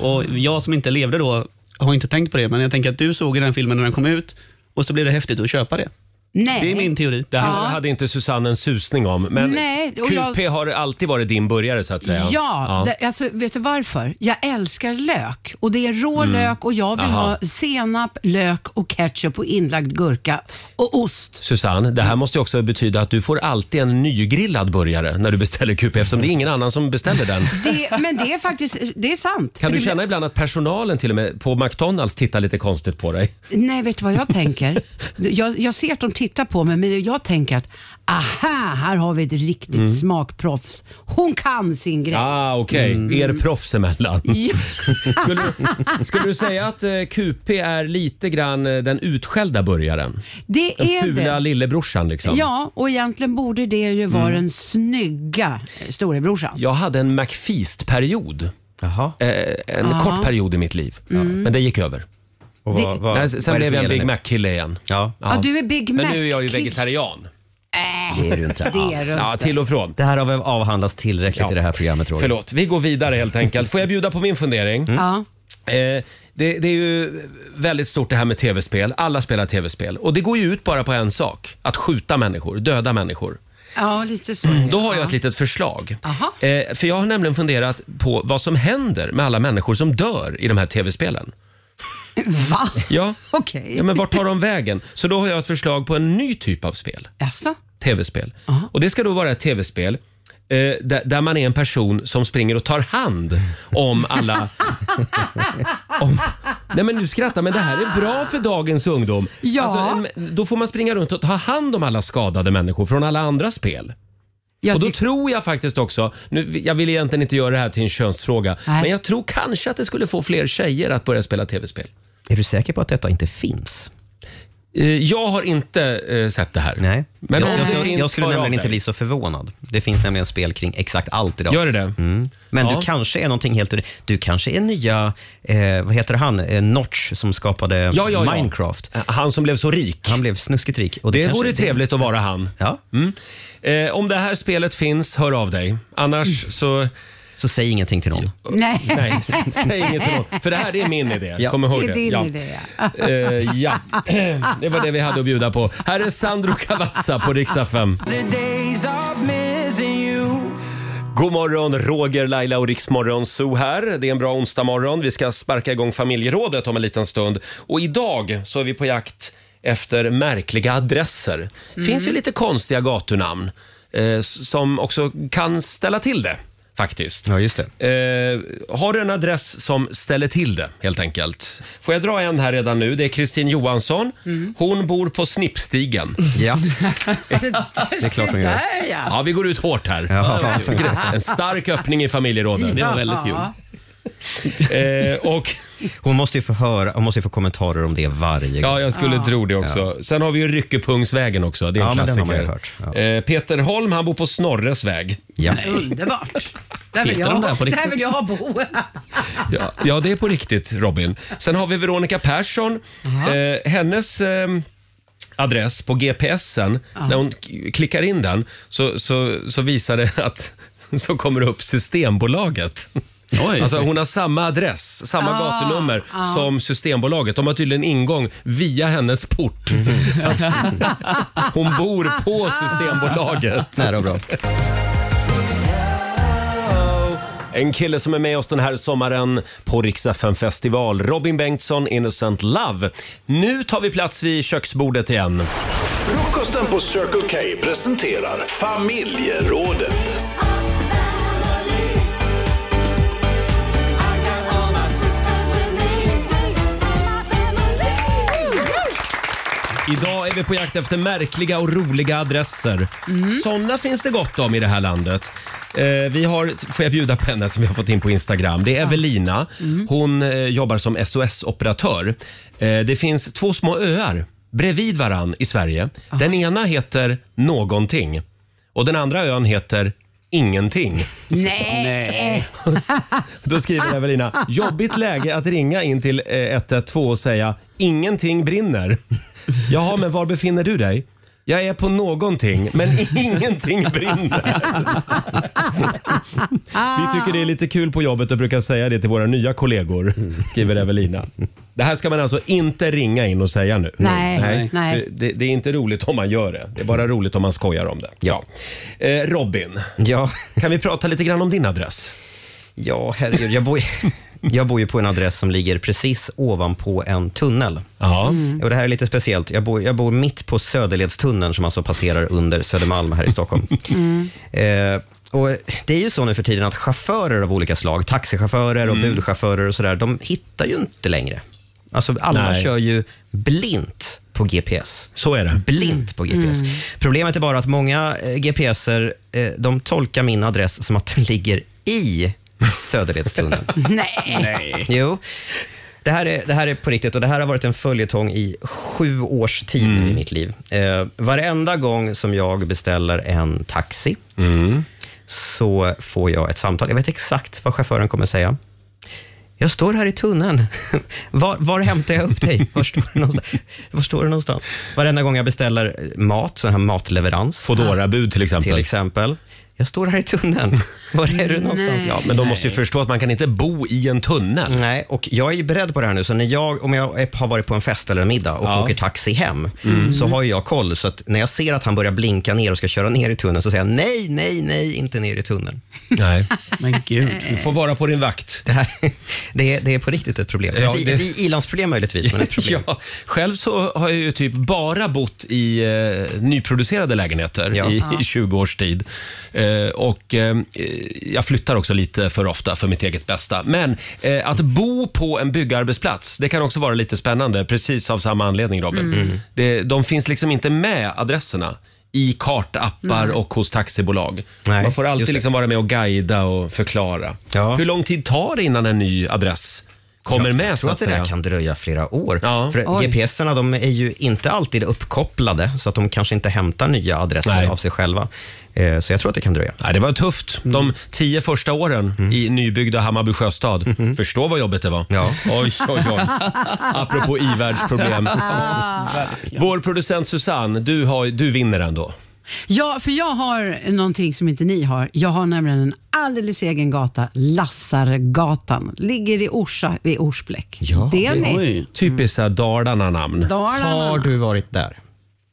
Och jag som inte levde då har inte tänkt på det, men jag tänker att du såg den filmen när den kom ut och så blev det häftigt att köpa det. Nej. Eh. Det är min teori. Det här Ja. hade inte Susanne en susning om. Men Nej, och QP jag- har alltid varit din burgare så att säga. Ja, Det, alltså, vet du varför? Jag älskar lök och det är rå Mm. lök och jag vill Aha. ha senap, lök och ketchup och inlagd gurka och ost. Susanne, det här måste ju också betyda att du får alltid en nygrillad burgare när du beställer QP eftersom det är ingen annan som beställer den. Det, men det är faktiskt det är sant. Kan du För det blir- känna ibland att personalen till och med på McDonalds tittar lite konstigt på dig? Nej, vet du vad jag tänker? Jag, jag ser att de titta på mig, men jag tänker att aha, här har vi ett riktigt Mm. smakproffs. Hon kan sin grej. Ah, okej. Er proffs emellan. Mm. Ja. skulle, skulle du säga att eh, QP är lite grann eh, den utskällda burgaren? Det den är fula det. lillebrorsan liksom. Ja, och egentligen borde det ju vara Mm. den snygga eh, storebrorsan. Jag hade en McFeast-period. Eh, en Aha. kort period i mitt liv. Mm. Men det gick över. vad- Det- vad- Nej, vad är det sen som blev jag en gäller Big nu? Mac-kille igen. Ja. Ja, du är Big Men Mac. nu är jag ju vegetarian. Äh, Det är du Ja, inte. till och från. Det här har väl avhandlats tillräckligt i det här programmet, Roger. Mm. Förlåt, vi går vidare helt enkelt. Får jag bjuda på min fundering? Ja. Eh, det, det är ju väldigt stort det här med tv-spel. Alla spelar tv-spel. Och det går ju ut bara på en sak. Att skjuta människor, döda människor. Ja, lite så. Mm, Då har jag ett litet förslag. Aha. Eh, för jag har nämligen funderat på vad som händer med alla människor som dör i de här tv-spelen. Va? Ja. Okej. ja, men vart tar de vägen? Så då har jag ett förslag på en ny typ av spel. Jaså? Tv-spel. Och det ska då vara ett tv-spel eh, där, där man är en person som springer och tar hand om alla... om... Nej men nu skrattar men det här är bra för dagens ungdom. Ja. em, då får man springa runt och ta hand om alla skadade människor från alla andra spel. och då tror jag faktiskt också, nu, jag vill egentligen inte göra det här till en könsfråga, Nej. men jag tror kanske att det skulle få fler tjejer att börja spela tv-spel. Är du säker på att detta inte finns? Eh, Jag har inte eh, sett det här. Nej. Men om jag, det jag, finns, jag skulle hör av nämligen inte dig. bli så förvånad. Det finns nämligen spel kring exakt allt idag. Gör det det? Mm. Men Ja. du kanske är någonting helt unikt. Du kanske är nya, eh, vad heter han, eh, Notch som skapade Ja, ja, ja. Minecraft. Han som blev så rik. Han blev snuskigt rik. Och Det, kanske- vore trevligt att vara han. Ja. Mm. Eh, om det här spelet finns, hör av dig. Annars Mm. så... Så säg ingenting till någon. Nej. Nej, s- säg inget till någon. För det här är min idé. Ja. Kom ihåg Det det. är din ja. idé. Eh, ja, det var det vi hade att bjuda på. Här är Sandro Cavazza på riksdag 5. The days of missing you. God morgon, Roger, Laila och Riksmorgon Zoo här. Det är en bra onsdag morgon. Vi ska sparka igång familjerådet om en liten stund. Och idag så är vi på jakt efter märkliga adresser. Mm. Det finns ju lite konstiga gatunamn eh, s- som också kan ställa till det. Faktiskt. Ja, just det. Eh, har du en adress som ställer till det, helt enkelt? Får jag dra en här redan nu? Det är Kristin Johansson. Mm. Hon bor på Snippstigen. Ja. Det är klart hon gör. Sådär, ja. ja. vi går ut hårt här. Ja. En stark öppning i familjerådet. Det var väldigt kul. Eh, och... Hon måste ju få höra, hon måste ju få kommentarer om det varje gång. Ja, jag skulle Ja. tro det också. Sen har vi ju Ryckepungsvägen också. Det är en Ja, men den klassiker. har man ju hört. Eh, Peter Holm, han bor på Snorres väg. Ja. Underbart. Där vill, Heter jag, de där på riktigt? där vill jag bo. Ja, ja, det är på riktigt, Robin. Sen har vi Veronica Persson. Eh, hennes eh, adress på GPSen, när hon k- klickar in den så, så, så visar det att så kommer det upp Systembolaget. Alltså hon har samma adress, samma Ah, gatunummer ah. som Systembolaget. De har tydligen ingång via hennes port. Mm. Så att hon bor på Systembolaget. Nära och bra. En kille som är med oss den här sommaren på Rix FM festival. Robin Bengtsson, Innocent Love. Nu tar vi plats vid köksbordet igen. Frukosten på Circle K presenterar familjerådet. Idag är vi på jakt efter märkliga och roliga adresser. Såna finns det gott om i det här landet. Eh, vi har, får jag bjuda på henne som vi har fått in på Instagram. Det är Evelina. Hon eh, jobbar som SOS-operatör. Eh, det finns två små öar bredvid varann i Sverige. Den ena heter någonting och den andra ön heter ingenting. Nej. Då skriver Evelina, jobbigt läge att ringa in till eh, 112 och säga ingenting brinner. Jaha, men var befinner du dig? Jag är på någonting, men ingenting brinner. Vi tycker det är lite kul på jobbet och brukar säga det till våra nya kollegor, skriver Evelina. Det här ska man alltså inte ringa in och säga nu. Nej, nej. för Det, det är inte roligt om man gör det. Det är bara roligt om man skojar om det. Ja. Eh, Robin, ja. kan vi prata lite grann om din adress? Ja, herregud. Jag bor, jag bor ju på en adress som ligger precis ovanpå en tunnel. Ja. Och det här är lite speciellt. Jag bor, jag bor mitt på Söderledstunneln som alltså passerar under Södermalm här i Stockholm. Eh, och det är ju så nu för tiden att chaufförer av olika slag, taxichaufförer och budchaufförer och sådär, de hittar ju inte längre. Alltså alla Nej. kör ju blint på på GPS. Så är det. Blint på GPS. Mm. Problemet är bara att många eh, GPSer, eh, de tolkar min adress som att den ligger i Söderledstunneln. Nej. Nej. Jo. Det här, är, det här är på riktigt och det här har varit en följetong i sju års tid nu i mitt liv. Eh, varenda gång som jag beställer en taxi så får jag ett samtal. Jag vet exakt vad chauffören kommer säga. Jag står här i tunneln. Var, var hämtar jag upp dig? Var står, du någonstans? var står du någonstans? Varenda gång jag beställer mat, sån här matleverans. Foodora-bud till exempel. Till exempel. Jag står här i tunneln. Var är du någonstans? Nej. Mm. Men de måste ju förstå att man kan inte bo i en tunnel. Nej, och jag är ju beredd på det här nu. Så när jag, om jag är- har varit på en fest eller en middag och Ja. åker taxi hem, Mm. så har ju jag koll. Så att när jag ser att han börjar blinka ner och ska köra ner i tunneln, så säger jag nej, nej, nej, inte ner i tunneln. Nej. Men gud. Du får vara på din vakt. Det, här, det, är, det är på riktigt ett problem. Ja, ett, det- ett i-landsproblem möjligtvis, men ett problem. Ja, själv så har jag ju typ bara bott i eh, nyproducerade lägenheter Ja. i, Ja. i 20 års tid. Eh, och eh, jag flyttar också lite för ofta för mitt eget bästa. Men eh, att bo på en byggarbetsplats, det kan också vara lite spännande. Precis av samma anledning Robin. Mm. Det, de finns liksom inte med adresserna i kartappar Nej. och hos taxibolag. Nej, Man får just alltid det. liksom vara med och guida och förklara. Hur lång tid tar det innan en ny adress kommer jag med tror så att att det där säga? kan dröja flera år. För Oj. GPSerna de är ju inte alltid uppkopplade, så att de kanske inte hämtar nya adresser av sig själva. Eh, Så jag tror att det kan dröja. Nej, det var tufft. De tio första åren i nybyggda Hammarby sjöstad. Förstå vad jobbigt det var. Ja. Oj, oj, oj. Apropå ivärldsproblem. Vår producent Susanne, du, har, du vinner ändå. Ja, för jag har någonting som inte ni har. Jag har nämligen en alldeles egen gata, Lassargatan. Ligger i Orsa, vid Orsbläck. det är ni. Typiskt så här Mm. Dalarna-namn. Dalarna. Har du varit där?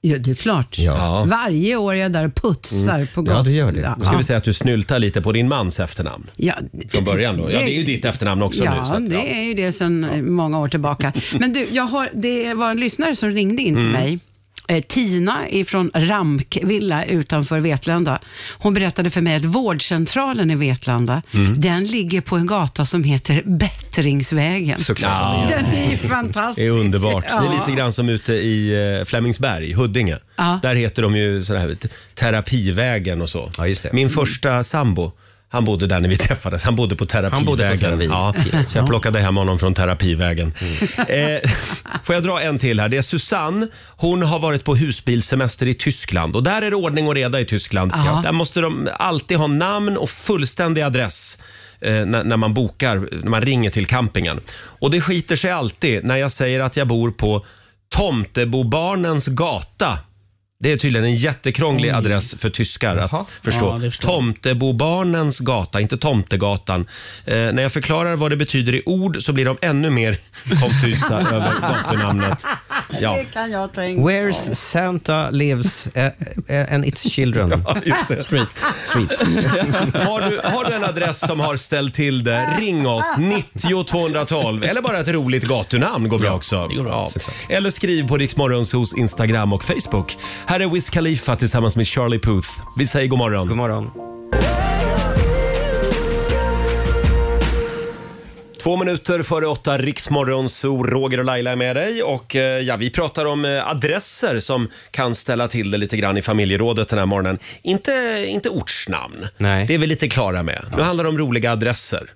Ja, det är klart. Ja. Mm. Varje år är jag där och putsar på gatan. Då ska vi säga att du snyltar lite på din mans efternamn. Ja, Från början då. Ja, det är ju ditt efternamn också ja, nu. Så att, det är ju det sedan många år tillbaka. Men du, jag har, det var en lyssnare som ringde in till Mm. mig. Eh, Tina ifrån Ramkvilla utanför Vetlanda. Hon berättade för mig att vårdcentralen i Vetlanda, Mm. den ligger på en gata som heter Bättringsvägen. Ja. Den är ju fantastisk. Det är underbart. Det är Ja. lite grann som ute i eh, Flemingsberg, Huddinge. Ja. Där heter de ju sådär, här, t- terapivägen och så. Min första sambo, han bodde där när vi träffades. Han bodde på terapivägen. bodde på terapi. Mm. ja, så jag plockade hem honom från terapivägen. Eh, får jag dra en till här? Det är Susanne. Hon har varit på husbilsemester i Tyskland. Och där är det ordning och reda i Tyskland. Ja. Där måste de alltid ha namn och fullständig adress eh, när, när man bokar, när man ringer till campingen. Och det skiter sig alltid när jag säger att jag bor på Tomtebobarnens gata. Det är tydligen en jättekrånglig adress för tyskar att förstå. Ja, det förstår jag. Tomtebobarnens gata, inte Tomtegatan. Eh, när jag förklarar vad det betyder i ord så blir de ännu mer konfusa över gatunamnet. Ja. kan jag tänka Where's Santa lives eh, eh, and its children? just det. Street. Street. Har du, har du en adress som har ställt till det, ring oss 90 212 eller bara ett roligt gatunamn går bra också. Ja. Eller skriv på Riksmorgonsos Instagram och Facebook. Här är Wiz Khalifa tillsammans med Charlie Puth. Vi säger god morgon. God morgon. Två minuter före åtta, Riksmorgonso, Roger och Laila är med dig. Och eh, ja, vi pratar om eh, adresser som kan ställa till det lite grann i familjerådet den här morgonen. Inte, inte ortsnamn. Nej. Det är vi lite klara med. Nu handlar det om roliga adresser. F-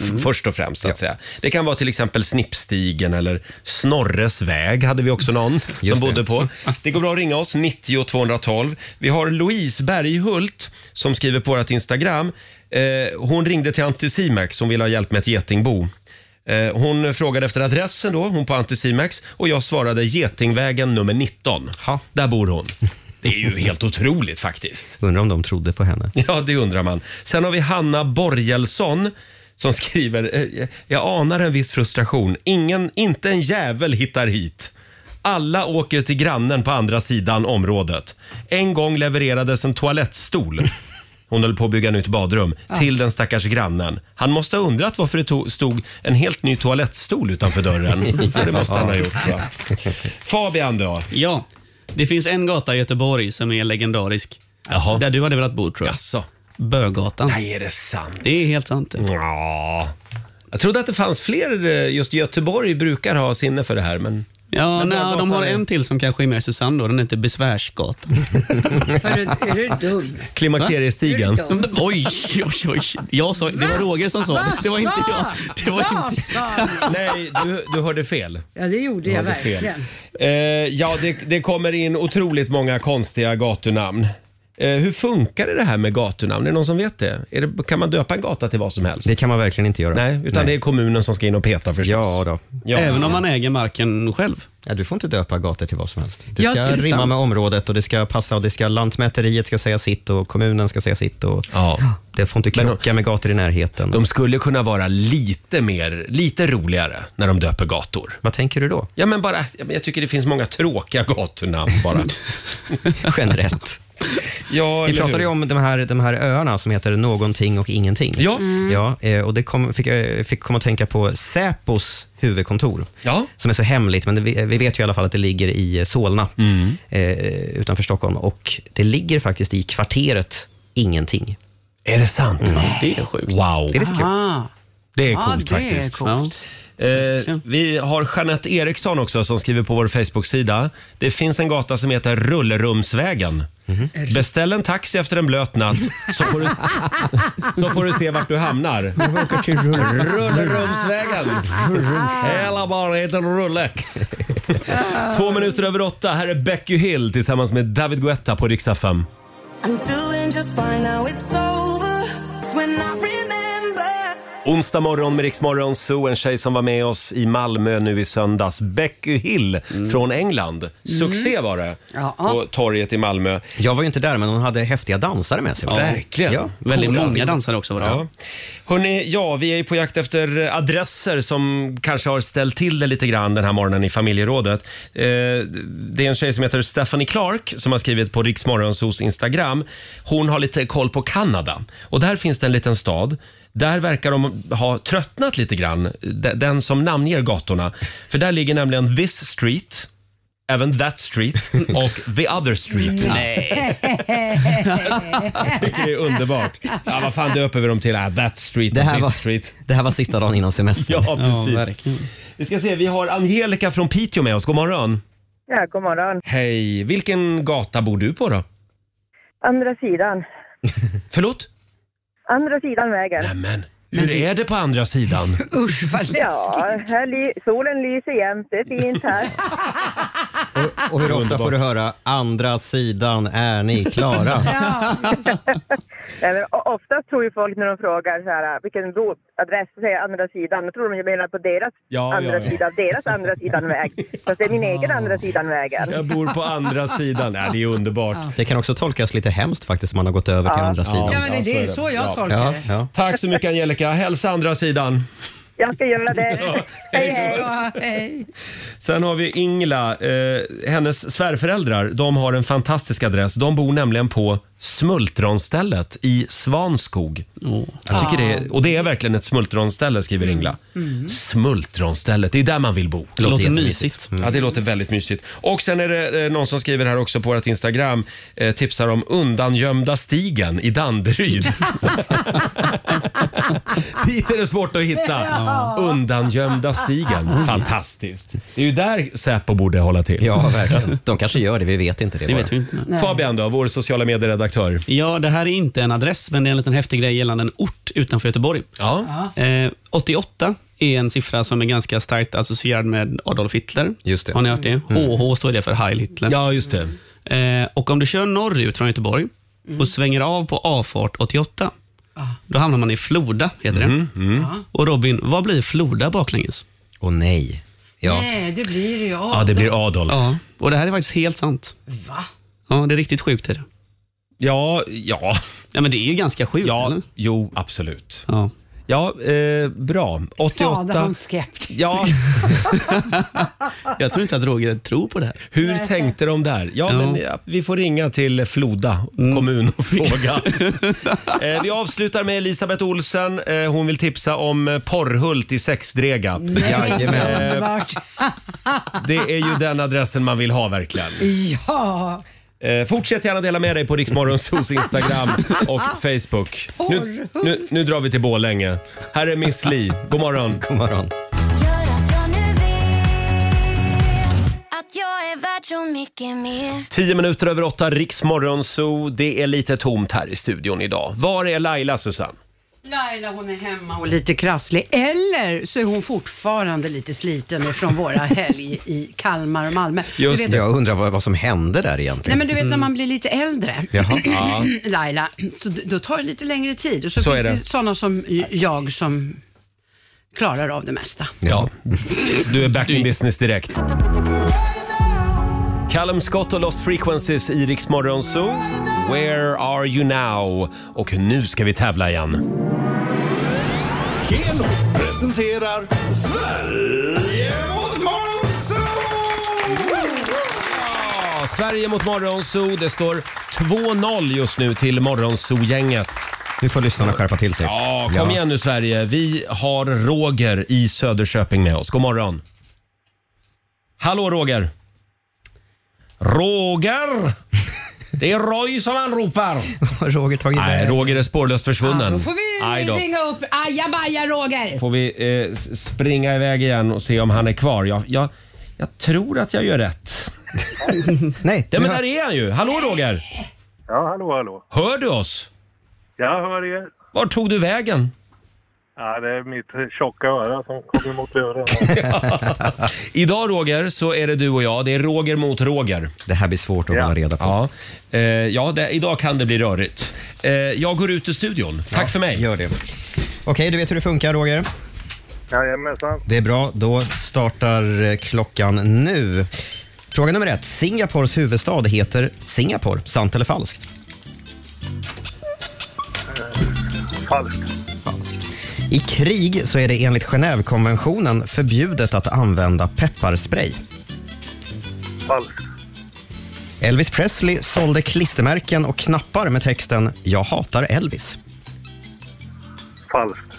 Mm. Först och främst, så att säga. Det kan vara till exempel Snippstigen eller Snorres väg hade vi också någon som Just det. bodde på. Det går bra att ringa oss, 90 212. Vi har Louise Berghult som skriver på vårt Instagram. Eh, hon ringde till Anticimex, hon ville ha hjälp med ett getingbo. Eh, hon frågade efter adressen då, hon på Anticimex, och jag svarade Getingvägen nummer 19. Där bor hon. Det är ju helt otroligt faktiskt. Undrar om de trodde på henne. Ja, det undrar man. Sen har vi Hanna Borgelsson som skriver, eh, jag anar en viss frustration. Ingen, inte en jävel hittar hit. Alla åker till grannen på andra sidan området. En gång levererades en toalettstol. Hon höll på att bygga nytt badrum till den stackars grannen. Han måste ha undrat varför det to- stod en helt ny toalettstol utanför dörren. Det måste han ha gjort. Va? Fabian då? Ja, det finns en gata i Göteborg som är legendarisk. Där du hade velat bo tror jag. Jaså. Bögatan. Nej, är det sant? Det är helt sant. Mm. Ja. Jag trodde att det fanns fler. eh, Just Göteborg brukar ha sinne för det här, men Ja, Men nej, bara de gatan har är- en till som kanske är mer Susanne då. Den heter Besvärsgatan. Hörru, är du dum? Klimakteriestigen. Va? Oj, oj, oj. Jag sa, det var Roger som sa det. Det var inte jag. Det var Vad inte... sa ni? Nej, du, du hörde fel. Ja, det gjorde Du jag hörde fel. verkligen. Eh, ja, det, det kommer in otroligt många konstiga gatunamn. Eh, hur funkar det här med gatunamn? Är det någon som vet det? Är det? Kan man döpa en gata till vad som helst? Det kan man verkligen inte göra. Nej, utan det är kommunen som ska in och peta förstås. Ja, då. Även om man äger marken själv. Ja, du får inte döpa gator till vad som helst. Det Ja, ska till rimma exempel. med området och det ska passa och det ska, lantmäteriet ska säga sitt och kommunen ska säga sitt. Och Det får inte krocka med gator i närheten. De skulle kunna vara lite mer, lite roligare när de döper gator. Vad tänker du då? Ja, men bara, ja, men jag tycker det finns många tråkiga gatunamn bara. Generellt. Ja, Vi eller pratade ju hur? om de här, de här öarna som heter någonting och ingenting. Ja. ja eh, och det kom, fick, jag- fick komma att tänka på Säpos huvudkontor. Ja. Som är så hemligt, men det, vi vi vet ju i alla fall att det ligger i eh, Solna, Mm. eh, utanför Stockholm. Och det ligger faktiskt i kvarteret Ingenting. Är det sant? Det är sjukt. Mm. Wow. Det är lite kul. Ah. Det är Ja, coolt det är faktiskt. coolt. Eh, vi har Jeanette Eriksson också som skriver på vår Facebook-sida. Det finns en gata som heter Rullrumsvägen. Beställ en taxi efter en blöt natt så får du, så får du se vart du hamnar. Rullrumsvägen. Hela barnen heter Rulle. Två minuter över åtta. Här är Becky Hill tillsammans med David Guetta på riksdag 5. I'm doing just fine now, it's over. It's when I remember. Onsdag morgon med Riksmorgon Zoo, en tjej som var med oss i Malmö nu i söndags. Becky Hill från England. Succé var det Ja. på torget i Malmö. Jag var ju inte där, men hon hade häftiga dansare med sig. va? Verkligen. Ja. Väldigt Coola många bilder. dansare också var det. Ja. Hörrni, ja, vi är ju på jakt efter adresser som kanske har ställt till det lite grann den här morgonen i familjerådet. Eh, det är en tjej som heter Stephanie Clark som har skrivit på Riksmorgonsos Instagram. Hon har lite koll på Kanada och där finns det en liten stad. Där verkar de ha tröttnat lite grann, de- den som namnger gatorna. För där ligger nämligen This Street, även That Street och The Other Street. Jag tycker det är underbart. Ja, vad fan döper vi dem till? Ah, that street, Det och här, this var, street. det här var sista dagen innan semestern. Ja, precis. verkligen. vi ska se, vi har Angelica från Piteå med oss. God morgon. Ja, god morgon. Hej. Vilken gata bor du på då? Andra sidan. Förlåt? Andra sidan vägen. Nämen, hur är det på andra sidan? Usch vad läskigt. Ja, här ly- solen lyser jämt. Det är fint här. Och hur ofta får du höra “andra sidan, är ni klara?” Nej, men o- Ofta tror ju folk när de frågar så här, äh, vilken adress säger jag andra sidan. Då tror de jag menar på deras Ja, andra ja, ja. sida, deras andra sidan väg. Fast det är min egen andra sidan vägen. Jag bor på andra sidan. Ja, det är underbart. Det kan också tolkas lite hemskt faktiskt om man har gått över till andra sidan. Ja, men det är så jag tolkar Ja, det. ja. Tack så mycket Angelica. Hälsa andra sidan. Jag ska göra det. Hej, hej. Ja, hej. Sen har vi Ingla. Eh, hennes svärföräldrar de har en fantastisk adress. De bor nämligen på Smultronstället i Svanskog. Oh. Jag tycker det Ah. är, och det är verkligen ett smultronställe, skriver Ingla. Smultronstället, det är där man vill bo. Mm. Det låter Mm. jättemysigt. mysigt. Ja, det låter väldigt mysigt. Och sen är det eh, någon som skriver här också på vårt Instagram, eh, tipsar om undangömda stigen i Danderyd. Dit är det svårt att hitta. Undangömda stigen. Fantastiskt. Det är ju där Säpo borde hålla till. ja, verkligen. De kanske gör det, vi vet inte det. Det bara. vet vi inte. Fabian då, vår sociala medieredaktör. Ja, det här är inte en adress, men det är en liten häftig grej gällande en ort utanför Göteborg. Ja. Eh, 88 är en siffra som är ganska starkt associerad med Adolf Hitler. Just det. Har ni hört det? HH står det för Heil Hitler. ja, just det. Eh, och om du kör norrut från Göteborg och svänger av på avfart 88, då hamnar man i Floda, heter det. Mm, Och Robin, vad blir Floda baklänges? Och nej. Ja. Nej, det blir det ju. Ja, det blir Adolf. Ja, och det här är faktiskt helt sant. Va? Ja, det är riktigt sjukt. Är det. Ja, ja, Ja, men det är ju ganska sjukt, ja, eller? jo, absolut. Ja. Ja, eh, bra. Sade 88. han skeptisk. Ja, Jag tror inte att Roger tror på det här. hur tänkte de där? Ja, Ja. men ja, vi får ringa till Floda kommun och fråga. eh, vi avslutar med Elisabeth Olsen. Eh, hon vill tipsa om eh, Porrhult i Sexdrega. Jajamän. Underbart. Det är ju den adressen man vill ha verkligen. Ja, Eh, fortsätt gärna dela med dig på Riksmorgonsos Instagram och Facebook. Nu, nu, nu drar vi till Borlänge. Här är Miss Li. God morgon. God morgon. Gör att jag nu vet mycket mer. Tio minuter över åtta, Riksmorgon Zoo. Det är lite tomt här i studion idag. Var är Laila, Susanne? Laila hon är hemma och lite krasslig. Eller så är hon fortfarande lite sliten från våra helg i Kalmar och Malmö. du vet, jag undrar vad, vad som hände där Nej egentligen. men du vet när man blir lite äldre, Jaha. Ja. Laila, så d- då tar det lite längre tid. Och så, Så finns är det det. sådana som j- jag som klarar av det mesta. Ja, du är back in business direkt. Callum Scott och Lost Frequencies i Rix Morgon Zoo. Where are you now? Och nu ska vi tävla igen. Keno presenterar Sverige mot Monzo! Ja, Sverige mot Morgonzoo. Det står 2-0 just nu till Morgonzoo-gänget. Nu får lyssnarna skärpa till sig. Ja, kom igen nu Sverige. Vi har Roger i Söderköping med oss. God morgon. Hallå Roger. Roger! Det är Roy som anropar. Har Roger tagit Nej, vägen? Roger är spårlöst försvunnen. Då får vi Aj då. ringa upp ajabaja Roger. Får vi eh, s- springa iväg igen och se om han är kvar. Jag, jag, jag tror att jag gör rätt. Nej, Ja, men nu där hör- är han ju. Hallå Roger! Ja, hallå, hallå. Hör du oss? Jag hör er. Var tog du vägen? Ja, det är mitt tjocka öra som kommer mot luren. Idag Roger så är det du och jag. Det är Roger mot Roger. Det här blir svårt att hålla reda på. Ja, eh, ja det, idag kan det bli rörigt. Eh, jag går ut ur studion. Tack för mig. Gör det. Okej, du vet hur det funkar Roger. Jajamensan. Det är bra. Då startar eh, klockan nu. Fråga nummer ett. Singapores huvudstad heter Singapore. Sant eller falskt? Falskt. I krig så är det enligt Genèvekonventionen förbjudet att använda pepparspray. Falskt. Elvis Presley sålde klistermärken och knappar med texten “Jag hatar Elvis”. Falskt.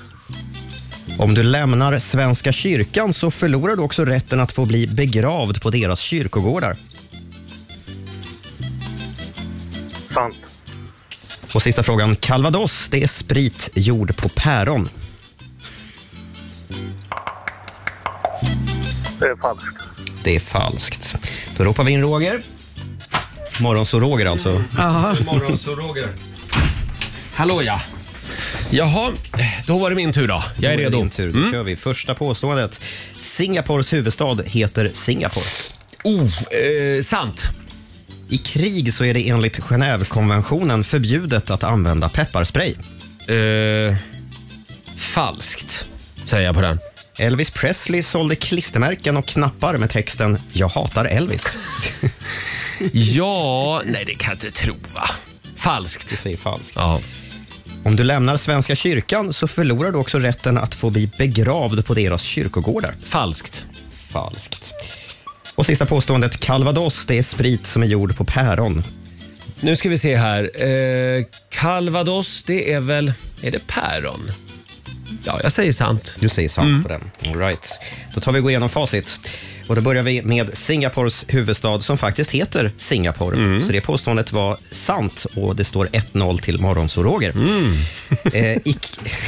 Om du lämnar Svenska kyrkan så förlorar du också rätten att få bli begravd på deras kyrkogårdar. Sant. Och sista frågan. Calvados, det är sprit gjord på päron. Det är falskt. Det är falskt. Då ropar vi in Roger. Morgonså-Roger alltså. Morgonzoo Roger. Hallå ja. Jaha, då var det min tur då. Jag är Då det redo. Mm. din tur. Då kör vi. Första påståendet. Singapores huvudstad heter Singapore. Oh, eh, sant. I krig så är det enligt Genèvekonventionen förbjudet att använda pepparspray. Eh, falskt, säger jag på den. Elvis Presley sålde klistermärken och knappar med texten “Jag hatar Elvis”. Ja, nej det kan jag inte tro va. Falskt. Det är falskt. Ja. Om du lämnar Svenska kyrkan så förlorar du också rätten att få bli begravd på deras kyrkogårdar. Falskt. Falskt. Och sista påståendet. Calvados, det är sprit som är gjord på päron. Nu ska vi se här. Eh, Calvados, det är väl... Är det päron? Ja, jag säger sant. Du säger sant på den. All right. Då tar vi och går igenom facit. Och då börjar vi med Singapores huvudstad som faktiskt heter Singapore. Så det påståendet var sant och det står 1-0 till Morgonzoo-Roger. eh, i-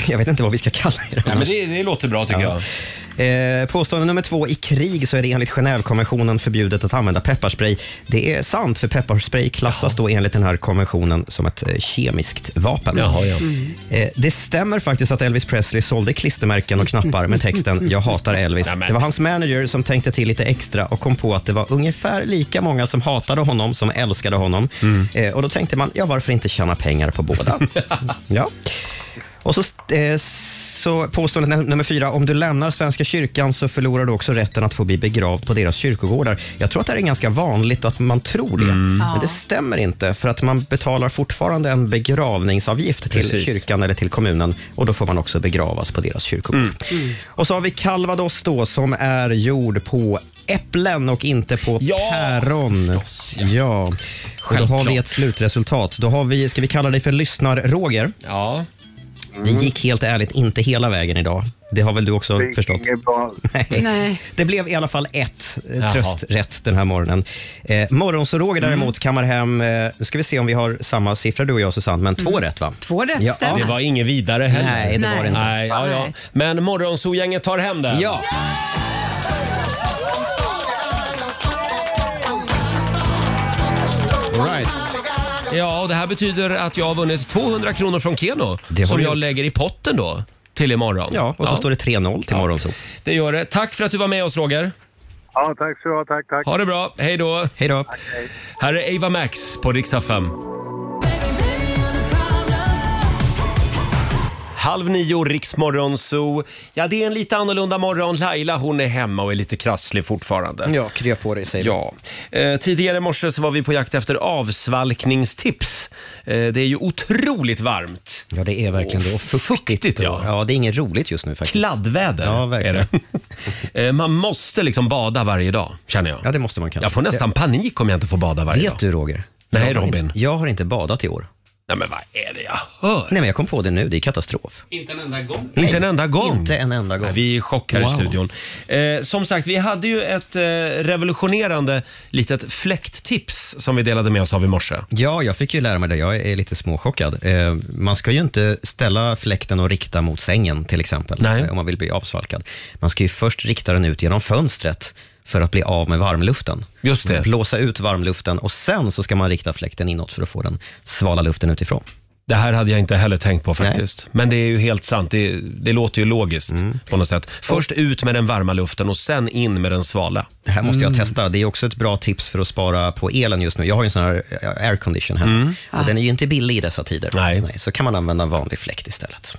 jag vet inte vad vi ska kalla er Ja, men det, det låter bra tycker jag. Eh, påstående nummer två. I krig så är det enligt Genèvekonventionen förbjudet att använda pepparspray. Det är sant, för pepparspray klassas då enligt den här konventionen som ett eh, kemiskt vapen. Jaha, ja. Eh, det stämmer faktiskt att Elvis Presley sålde klistermärken och knappar med texten “Jag hatar Elvis”. Nämen. Det var hans manager som tänkte till lite extra och kom på att det var ungefär lika många som hatade honom som älskade honom. Mm. Eh, och då tänkte man, ja varför inte tjäna pengar på båda? ja. Och så, eh, så påstående num- nummer fyra. Om du lämnar Svenska kyrkan så förlorar du också rätten att få bli begravd på deras kyrkogårdar. Jag tror att det här är ganska vanligt att man tror det, Mm. men det stämmer inte för att man betalar fortfarande en begravningsavgift till Precis. kyrkan eller till kommunen och då får man också begravas på deras kyrkogård. Mm. Mm. Och så har vi calvados då som är gjord på äpplen och inte på Ja, päron. förstås, ja. Och då har vi Självklart. ett slutresultat. Då har vi, ska vi kalla dig för lyssnar-Roger? Ja. Det gick helt ärligt inte hela vägen idag. Mm. Det har väl du också förstått? Inget bra. Nej. Det blev i alla fall ett eh, Jaha. trösträtt den här morgonen. Eh, Morgonsoroger däremot kammar hem, eh, nu ska vi se om vi har samma siffra du och jag Susanne, men Mm. två rätt va? Två rätt Ja. stämmer. Det var inget vidare heller. Nej, det var det Nej. inte. Nej, ja, ja. Nej. Men Morgonzoo-gänget tar hem den. Ja, Ja, och det här betyder att jag har vunnit 200 kronor från Keno Det har som du jag gjort. lägger i potten då till imorgon. Ja, och så står det 3-0 till morgon. Så. Det gör det. Tack för att du var med oss Roger. Ja, tack så du ha. Tack, tack. Ha det bra. Hej då. Hej då. Här är Ava Max på Rix FM. Halv nio, Riksmorgon Zoo. Ja, det är en lite annorlunda morgon. Laila hon är hemma och är lite krasslig fortfarande. Ja, krya på dig säger Ja. Eh, tidigare i morse så var vi på jakt efter avsvalkningstips. Eh, det är ju otroligt varmt. Ja, det är verkligen det. Och fuktigt. ja. ja, det är inget roligt just nu faktiskt. Kladdväder Ja, verkligen. är det. Eh, man måste liksom bada varje dag, känner jag. Ja, det måste man kanske. Jag får nästan panik om jag inte får bada varje Vet dag. du Roger? Nej, jag har Robin. inte- Jag har inte badat i år. Nej, men vad är det jag hör? Nej, men jag kom på det nu. Det är katastrof. Inte en enda gång. Inte en enda gång. Inte en enda gång. Vi är i chock här i Wow. studion. Eh, som sagt, vi hade ju ett eh, revolutionerande litet fläkttips som vi delade med oss av i morse. Ja, jag fick ju lära mig det. Jag är lite småchockad. Eh, man ska ju inte ställa fläkten och rikta mot sängen till exempel, eh, om man vill bli avsvalkad. Man ska ju först rikta den ut genom fönstret för att bli av med varmluften. Just det. Blåsa ut varmluften och sen så ska man rikta fläkten inåt för att få den svala luften utifrån. Det här hade jag inte heller tänkt på faktiskt. Men det är ju helt sant. Det, det låter ju logiskt Mm. på något sätt. Först ut med den varma luften och sen in med den svala. Det här måste jag testa. Det är också ett bra tips för att spara på elen just nu. Jag har ju en sån här eh, aircondition hemma Mm. och den är ju inte billig i dessa tider. Nej. så kan man använda en vanlig fläkt istället.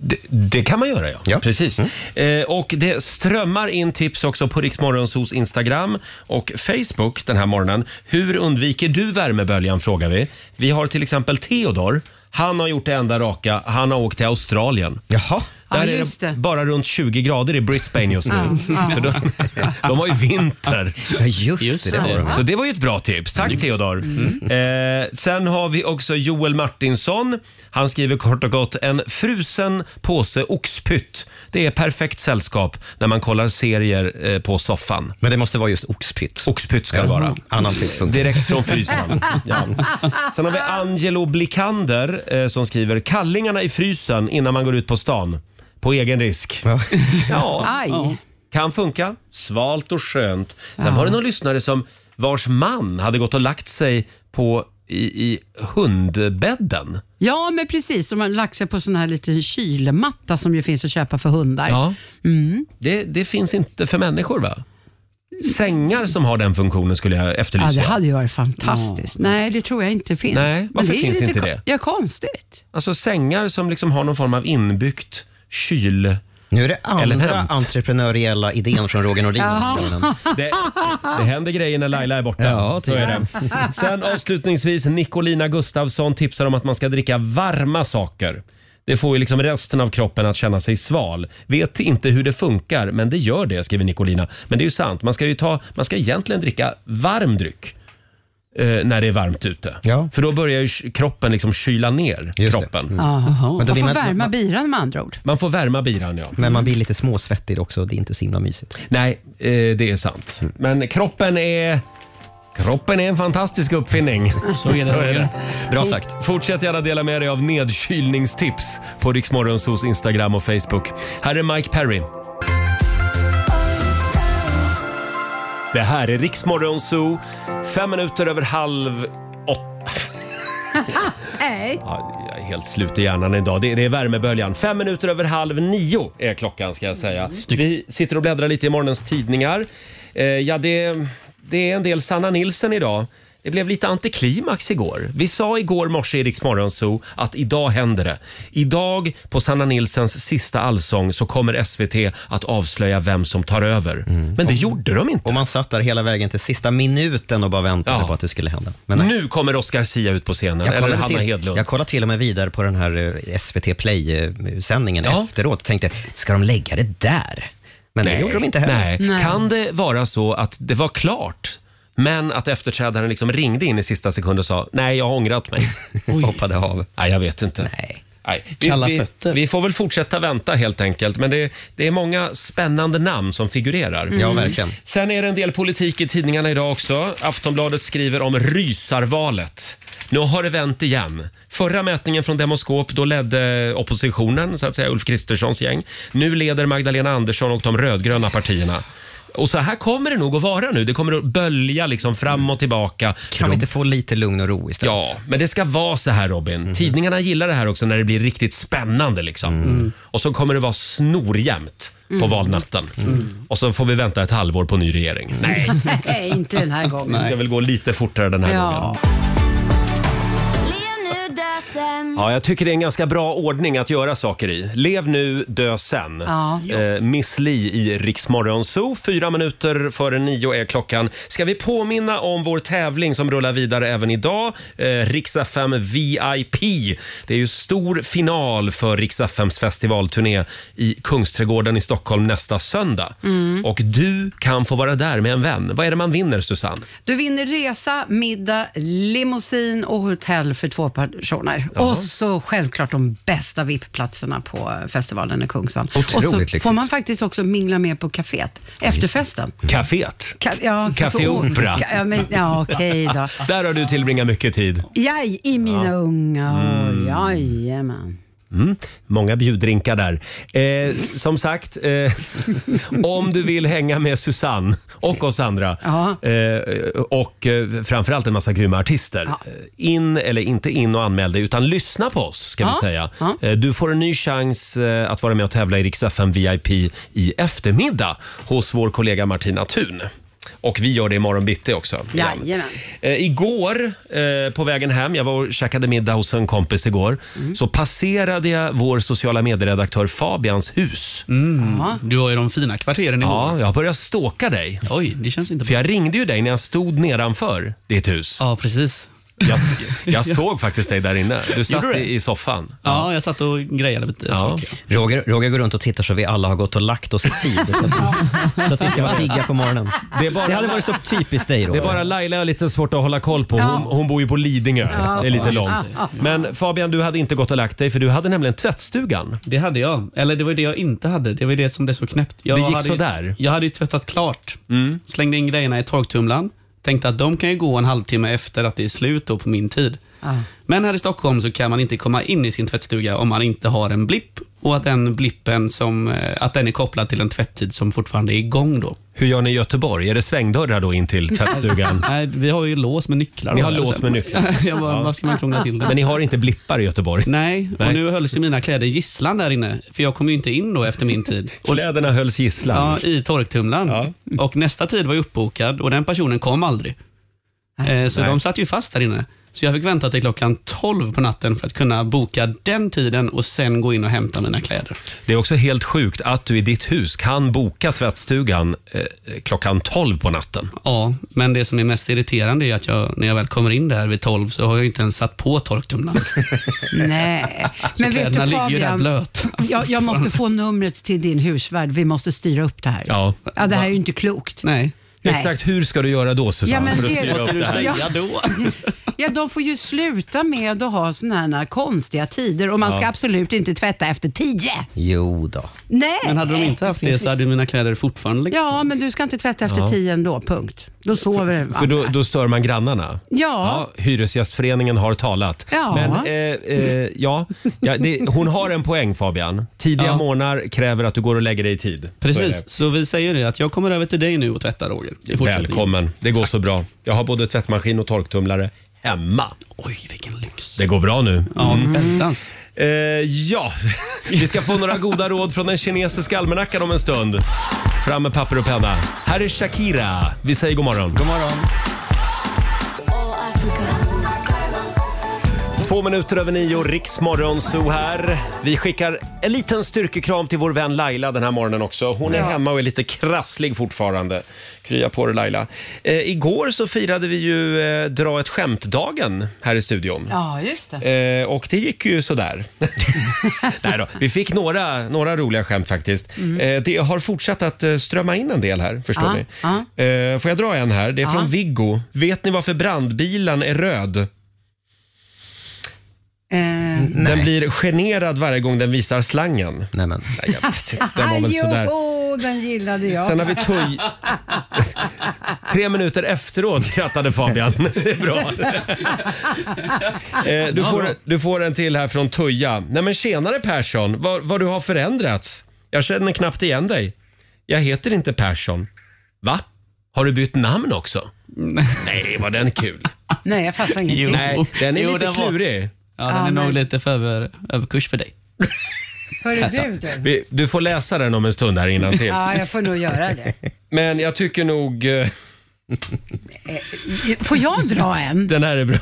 Det, det kan man göra, ja. Precis. Eh, och det strömmar in tips också på Riksmorgonsos Instagram och Facebook den här morgonen. Hur undviker du värmeböljan, frågar vi. Vi har till exempel Theodor. Han har gjort det enda raka. Han har åkt till Australien. Jaha. Där Ja, är just det bara runt 20 grader i Brisbane just nu. Ja, ja. För de, de har ju vinter. Ja, just, det, det har de. Så det var ju ett bra tips. Tack Theodor. Eh, sen har vi också Joel Martinsson. Han skriver kort och gott en frusen påse oxpytt. Det är perfekt sällskap när man kollar serier eh, på soffan. Men det måste vara just oxpytt. Oxpytt ska det Ja, vara. annan pytt funkar. Direkt från frysen. Ja. Sen har vi Angelo Blikander eh, som skriver kallingarna i frysen innan man går ut på stan. På egen risk. Ja. Aj. Kan funka. Svalt och skönt. Sen var det någon lyssnare som vars man hade gått och lagt sig på i, i hundbädden. Ja, men precis. De har lagt sig på sån här liten kylmatta som ju finns att köpa för hundar. Ja. Mm. Det, det finns inte för människor va? Sängar som har den funktionen skulle jag Ja, efterlysa. det hade ju varit fantastiskt. Nej, det tror jag inte finns. Nej, Men varför det är ju finns lite inte ko- det? Ja, konstigt. Alltså sängar som liksom har någon form av inbyggt kyl... Nu är det andra entreprenöriella idén från Roger Nordin. Jaha. Det, det händer grejer när Laila är borta. Ja, så är det. Sen avslutningsvis, Nicolina Gustafsson tipsar om att man ska dricka varma saker. Det får ju liksom resten av kroppen att känna sig sval. Vet inte hur det funkar, men det gör det, skriver Nicolina. Men det är ju sant, man ska ju ta, man ska egentligen dricka varm dryck eh, när det är varmt ute. För då börjar ju k- kroppen liksom kyla ner kroppen. Jaha. Men Man då vill får man- värma biran med andra ord. Man får värma biran, ja. Men man blir lite småsvettig också. Det är inte så himla mysigt. Nej, eh, det är sant. Men kroppen är... Kroppen är en fantastisk uppfinning. Så är det, Roger. Bra Fort- sagt. Fortsätt gärna dela med dig av nedkylningstips på Riksmorgonsos Instagram och Facebook. Här är Mike Perry. Det här är Riksmorgonso. Fem minuter över halv åtta. Nej. Ja, jag är helt slut i hjärnan idag. Det, det är värmeböljan. Fem minuter över halv nio är klockan ska jag säga. Vi sitter och bläddrar lite i morgonens tidningar. Eh, ja, det, det är en del Sanna Nilsen idag. Det blev lite antiklimax igår. Vi sa igår morse i Rix Morgon Zoo att idag händer det. Idag på Sanna Nilsens sista allsång så kommer SVT att avslöja vem som tar över. Mm. Men det gjorde de inte. Och man satt där hela vägen till sista minuten och bara väntade på att det skulle hända. Men nej. Nu kommer Oscar Sia ut på scenen, Jag eller kollade, Hanna till, Hedlund. jag kollade till och med vidare på den här eh, SVT Play-sändningen efteråt och tänkte, ska de lägga det där? Men det gjorde de inte heller. Nej. Kan det vara så att det var klart, men att efterträdaren liksom ringde in i sista sekund och sa nej, jag har ångrat mig? Hoppade av. Nej, jag vet inte. Nej. Vi, Kalla vi, fötter. vi får väl fortsätta vänta helt enkelt. Men det, det är många spännande namn som figurerar. Mm. Ja, verkligen. Sen är det en del politik i tidningarna idag också. Aftonbladet skriver om rysarvalet. Nu har det vänt igen. Förra mätningen från Demoskop, då ledde oppositionen, så att säga Ulf Kristerssons gäng. Nu leder Magdalena Andersson och de rödgröna partierna. Och så här kommer det nog att vara nu. Det kommer att bölja liksom fram och tillbaka. Kan vi inte få lite lugn och ro istället? Ja, men det ska vara så här Robin. Mhm. Tidningarna gillar det här också när det blir riktigt spännande liksom. Och så kommer det vara snorjämnt på Mm. valnatten. Och så får vi vänta ett halvår på ny regering. Nej, Mm. Nej, inte den här gången. det ska väl gå lite fortare den här gången. Mm. Ja, jag tycker det är en ganska bra ordning att göra saker i. Lev nu, dö sen. Ja. Eh, Miss Li i Riksmorgon Zoo. Fyra minuter före nio är klockan. Ska vi påminna om vår tävling som rullar vidare även idag? Eh, Riksa 5 VIP. Det är ju stor final för Riksa 5s festivalturné i Kungsträdgården i Stockholm nästa söndag. Mm. Och du kan få vara där med en vän. Vad är det man vinner, Susanne? Du vinner resa, middag, limousin och hotell för två personer. Jaha. Och så självklart de bästa VIP-platserna på festivalen i Kungsan. Otroligt och så lyxigt. får man faktiskt också mingla med på caféet efter festen. Caféet. Ka- ja, Café Opera. Ka- Ja, men, ja okej då. Där har du tillbringat mycket tid. Jaj, i mina Ja. unga år. Mm. Jajamän. Mm, många bjudrinkar där. Eh, s- som sagt, eh, om du vill hänga med Susanne och oss andra Ja. eh, och eh, framförallt en massa grymma artister. eh, In, eller inte in och anmäl dig, utan lyssna på oss ska Ja. vi säga. Ja. Eh, du får en ny chans eh, att vara med och tävla i Rix FM VIP i eftermiddag hos vår kollega Martina Thun. Och vi gör det imorgon bitti också. igen. Jajamän. Eh, igår eh, på vägen hem, jag var och käkade middag hos en kompis igår, så passerade jag vår sociala medieredaktör Fabians hus. Ja. Du har ju de fina kvarteren igår. Ja, jag började stalka dig. Oj, det känns inte För jag ringde ju dig när jag stod nedanför ditt hus. Ja, precis. Jag, jag såg faktiskt dig där inne. Du satt Gjorde du det? i, i soffan. Ja, jag satt och grejade lite saker. Roger, Roger går runt och tittar så vi alla har gått och lagt oss i tid. Så att vi, så att vi ska vara pigga på morgonen. Det, är bara, hade varit så typiskt dig Roger. Det är bara Laila jag har lite svårt att hålla koll på. Hon, hon bor ju på Lidingö. Ja. Det är lite Ja, långt. just det. Men Fabian, du hade inte gått och lagt dig för du hade nämligen tvättstugan. Det hade jag. Eller det var ju det jag inte hade. Det var ju det Mm. som blev så knäppt. Jag Det gick hade, ju- sådär. Jag hade ju tvättat klart. Slängde in grejerna i torktumlaren. Tänkte att de kan ju gå en halvtimme efter att det är slut då på min tid. Men här i Stockholm så kan man inte komma in i sin tvättstuga om man inte har en blipp och att den blippen som, eh, att den är kopplad till en tvätttid som fortfarande är igång då. Hur gör ni i Göteborg? Är det svängdörrar då in till tvättstugan? Nej, vi har ju lås med nycklar. Ni då, har eller lås så. med nycklar. jag bara, Ja. Vad ska man krångla till det? Men ni har inte blippar i Göteborg? Nej, och nu hölls ju mina kläder gisslan där inne, för jag kom ju inte in då efter min tid. Och, Kläderna hölls gisslan? Ja, i torktumlaren. Och nästa tid var ju uppbokad och den personen kom aldrig. Eh, så Nej. de satt ju fast där inne. Så jag fick vänta till klockan 12 på natten för att kunna boka den tiden och sen gå in och hämta mina kläder. Det är också helt sjukt att du i ditt hus kan boka tvättstugan eh, klockan 12 på natten. Ja, men det som är mest irriterande är att jag, när jag väl kommer in där vid 12 så har jag ju inte ens satt på torktumlaren. Nej. Så kläderna ligger ju där blöt. jag, jag måste få numret till din husvärd. Vi måste styra upp det här. Ja. Ja, det här är ju inte klokt. Nej. Nej. Exakt hur ska du göra då Susanne? Ja, men för att det- styra Vad ska upp du det här? säga Ja. då? Ja, de får ju sluta med att ha såna här konstiga tider och man ska Ja. absolut inte tvätta efter tio. Jo då. Nej. Men hade de inte haft det så hade mina kläder fortfarande legat Ja, men du ska inte tvätta efter Ja. tio ändå, punkt. Då sover För då, då stör man grannarna? Ja. hyresgästföreningen har talat. Ja. Men eh, eh, ja, ja det, hon har en poäng Fabian. Tidiga Ja. morgnar kräver att du går och lägger dig i tid. Så är det. Precis, så, vi säger det att jag kommer över till dig nu och tvättar Roger. i fortsättningen. Välkommen, det går så bra. Jag har både tvättmaskin och torktumlare hemma. Oj, vilken lyx. Det går bra nu. Ja, väldans. Eh, ja, vi ska få några goda råd från den kinesiska almanackan om en stund. Fram med papper och penna. Här är Shakira. Vi säger god morgon. God morgon. Två minuter över nio, Riksmorgon så här. Vi skickar en liten styrkekram till vår vän Laila den här morgonen också. Hon är Ja. hemma och är lite krasslig fortfarande. Krya på dig Laila. Eh, igår så firade vi ju eh, Dra ett skämt-dagen här i studion. Ja, just det. Eh, och det gick ju sådär. Nej då, vi fick några, några roliga skämt faktiskt. Mm. Eh, det har fortsatt att eh, strömma in en del här, förstår Ja, ni. ja. Eh, får jag dra en här? Det är Ja. från Viggo. Vet ni varför brandbilen är röd? Eh, Den blir generad varje gång den visar slangen. Nej, men. Nej, jag vet inte. Den var väl sådär. Jo, den gillade jag. Sen har vi tuj... Tre minuter efteråt skrattade Fabian. Det är bra. Eh, du, får, du får en till här från Tuja. Nej men tjenare Persson, vad, vad du har förändrats. Jag känner knappt igen dig. Jag heter inte Persson. Va? Har du bytt namn också? Nej, var den kul? Nej, jag fattar ingenting. Nej, den är lite var- klurig. Ja, den är Ja, nog men- lite för över, överkurs för dig. Hörru du, du. Vi, du får läsa den om en stund här innantill. Ja, jag får nog göra det. Men jag tycker nog... eh, Får jag dra en? Den här är bra.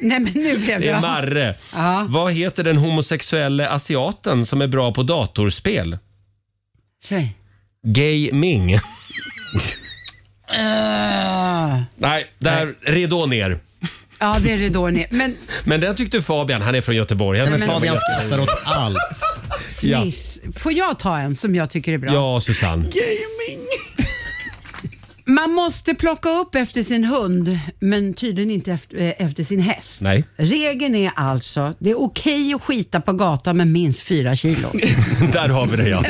Nej, men nu blev det... Det är Marre. Ja. Vad heter den homosexuelle asiaten som är bra på datorspel? Säg. Gay Ming. Eh, Nej, där, ridå ner. ja, det är ridån ner. Men Men den tyckte Fabian, han är från Göteborg. Jag Nej, tyckte men- det var Fabian ganska- skrattar åt allt. Ja, fniss. Får jag ta en som jag tycker är bra? ja Susanne. Man måste plocka upp efter sin hund, men tydligen inte efter, eh, efter sin häst. Nej. Regeln är alltså, det är okej att skita på gatan med minst fyra kilo. Där har vi det ja.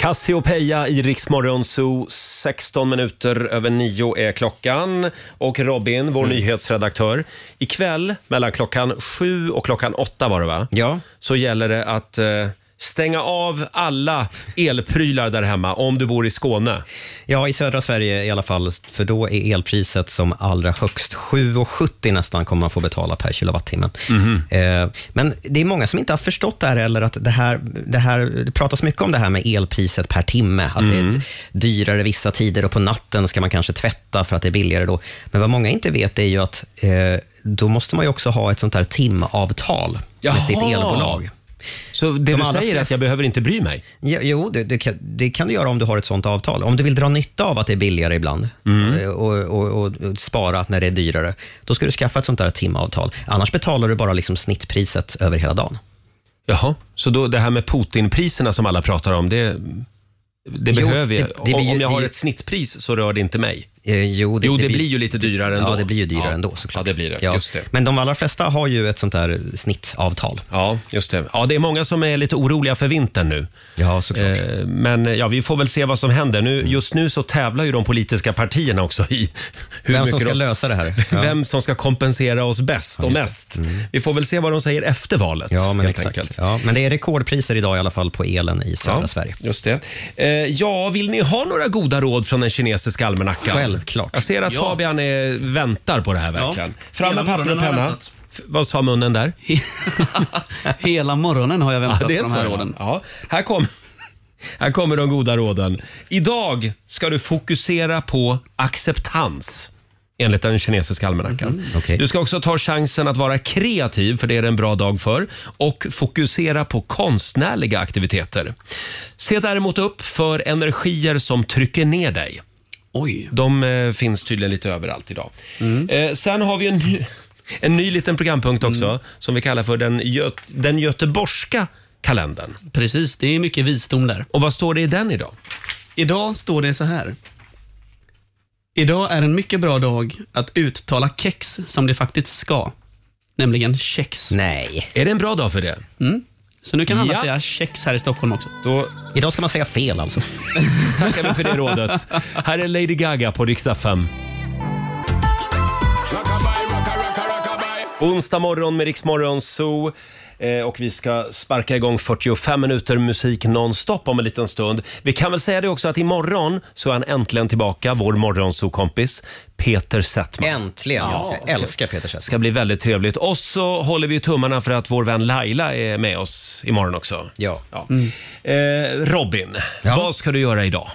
Cassiopeia i Rix Morgon Zoo. 16 minuter över nio är klockan. Och Robin, vår nyhetsredaktör. Ikväll mellan klockan sju och klockan åtta var det va? Ja. Så gäller det att eh, stänga av alla elprylar där hemma om du bor i Skåne. Ja, i södra Sverige i alla fall, för då är elpriset som allra högst 7,70 nästan kommer man få betala per kilowattimme. Eh, Men det är många som inte har förstått det här, eller att det här, det här, det pratas mycket om det här med elpriset per timme, att det är dyrare vissa tider och på natten ska man kanske tvätta för att det är billigare då. Men vad många inte vet är ju att eh, då måste man ju också ha ett sånt här timavtal med sitt Jaha. elbolag. Så det du säger är att jag behöver inte bry mig? Jo, det, det, kan, det kan du göra om du har ett sånt avtal. Om du vill dra nytta av att det är billigare ibland Mm. eh, och, och, och, och spara när det är dyrare, då ska du skaffa ett sånt där timavtal. Annars betalar du bara liksom snittpriset över hela dagen. Jaha, så då det här med Putinpriserna som alla pratar om, det, det Jo, behöver jag. det- det blir om ju- om jag har det- ett snittpris så rör det inte mig. Eh, jo, det, blir, ju lite dyrare ändå. Ja, det blir ju dyrare Ja. ändå såklart. Ja, det blir det. Ja. Just det. Men de allra flesta har ju ett sånt där snittavtal. Ja, just det. Ja, det är många som är lite oroliga för vintern nu. Eh, Ja, såklart. Mm. Men ja, vi får väl se vad som händer. Nu, just nu så tävlar ju de politiska partierna också i hur Vem som mycket ska de, lösa det här. Ja. Vem som ska kompensera oss bäst och mest. Vi får väl se vad de säger efter valet. Mm. Ja, men helt exakt. enkelt. Ja, men det är rekordpriser idag i alla fall på elen i södra Ja, Sverige. Just det. Eh, ja, vill ni ha några goda råd från den kinesiska almanackan? Självklart. Jag ser att Ja. Fabian är, väntar på det här verkligen. Fram med Hela papper och morgonen har jag penna. väntat. F- Vad sa munnen där? Hela morgonen har jag väntat Ja, det är på de här så. råden. Ja, här, kom, här kommer de goda råden. Idag ska du fokusera på acceptans enligt den kinesiska almanackan. Du ska också ta chansen att vara kreativ, för det är det en bra dag för, och fokusera på konstnärliga aktiviteter. Se däremot upp för energier som trycker ner dig. Oj. De eh, finns tydligen lite överallt idag. Eh, sen har vi en ny, en ny liten programpunkt också som vi kallar för den, gö, den göteborgska kalendern. Precis, det är mycket visdom där. Och vad står det i den idag? Idag står det så här. Idag är en mycket bra dag att uttala kex som det faktiskt ska. Nämligen kex. Nej. Är det en bra dag för det? Mm. Så nu kan alla Ja. säga kex här i Stockholm också. Då Idag ska man säga fel alltså. tackar vi för det rådet. Här är Lady Gaga på riksdag 5. Onsdag morgon med Riksmorgon Zoo. Eh, Och vi ska sparka igång 45 minuter musik nonstop om en liten stund. Vi kan väl säga det också att imorgon så är han äntligen tillbaka, vår morgonzoo-kompis Peter Settman. Äntligen. Ja, jag älskar Peter Kjell. Det ska bli väldigt trevligt. Och så håller vi tummarna för att vår vän Laila är med oss imorgon också. Ja. Eh, Robin, vad ska du göra idag?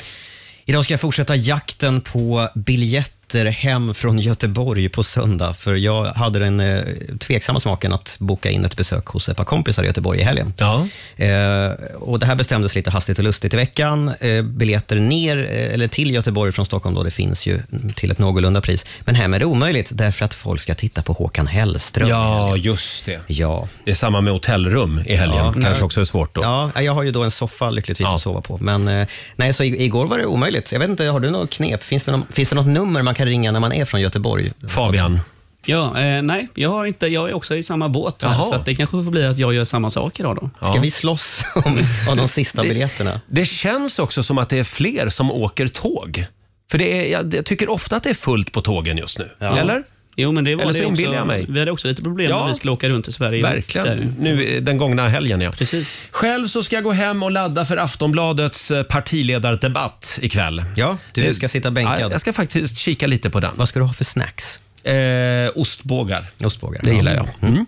Idag ska jag fortsätta jakten på biljetter hem från Göteborg på söndag, för jag hade den eh, tveksamma smaken att boka in ett besök hos ett par kompisar i Göteborg i helgen. Ja. Eh, och det här bestämdes lite hastigt och lustigt i veckan. Eh, biljetter ner, eh, eller till Göteborg från Stockholm, då, det finns ju mm, till ett någorlunda pris. Men hem är det omöjligt, därför att folk ska titta på Håkan Hellström. Ja, just det. Ja. Det är samma med hotellrum i helgen. Ja, Kanske nej. också är svårt då. Ja, jag har ju då en soffa lyckligtvis att sova på. Men eh, nej, så i- igår var det omöjligt. Jag vet inte, har du något knep? Finns det, någon, finns det något nummer man kan ringa när man är från Göteborg? Fabian. Ja, eh, nej, jag, har inte, jag är också i samma båt. Här, Jaha. så att det kanske får bli att jag gör samma sak idag då. Ska vi slåss om, om de sista biljetterna? Det känns också som att det är fler som åker tåg. För det är, jag, jag tycker ofta att det är fullt på tågen just nu. Eller? Jo, men det var Eller så det också. inbillar jag mig. Vi hade också lite problem Ja. när vi skulle åka runt i Sverige. Verkligen. Nu, den gångna helgen, ja. Precis. Själv så ska jag gå hem och ladda för Aftonbladets eh, partiledardebatt ikväll. Ja, du ska sitta bänkad. Jag ska faktiskt kika lite på den. Vad ska du ha för snacks? Eh, ostbågar. Ostbågar. Det gillar jag. Mm.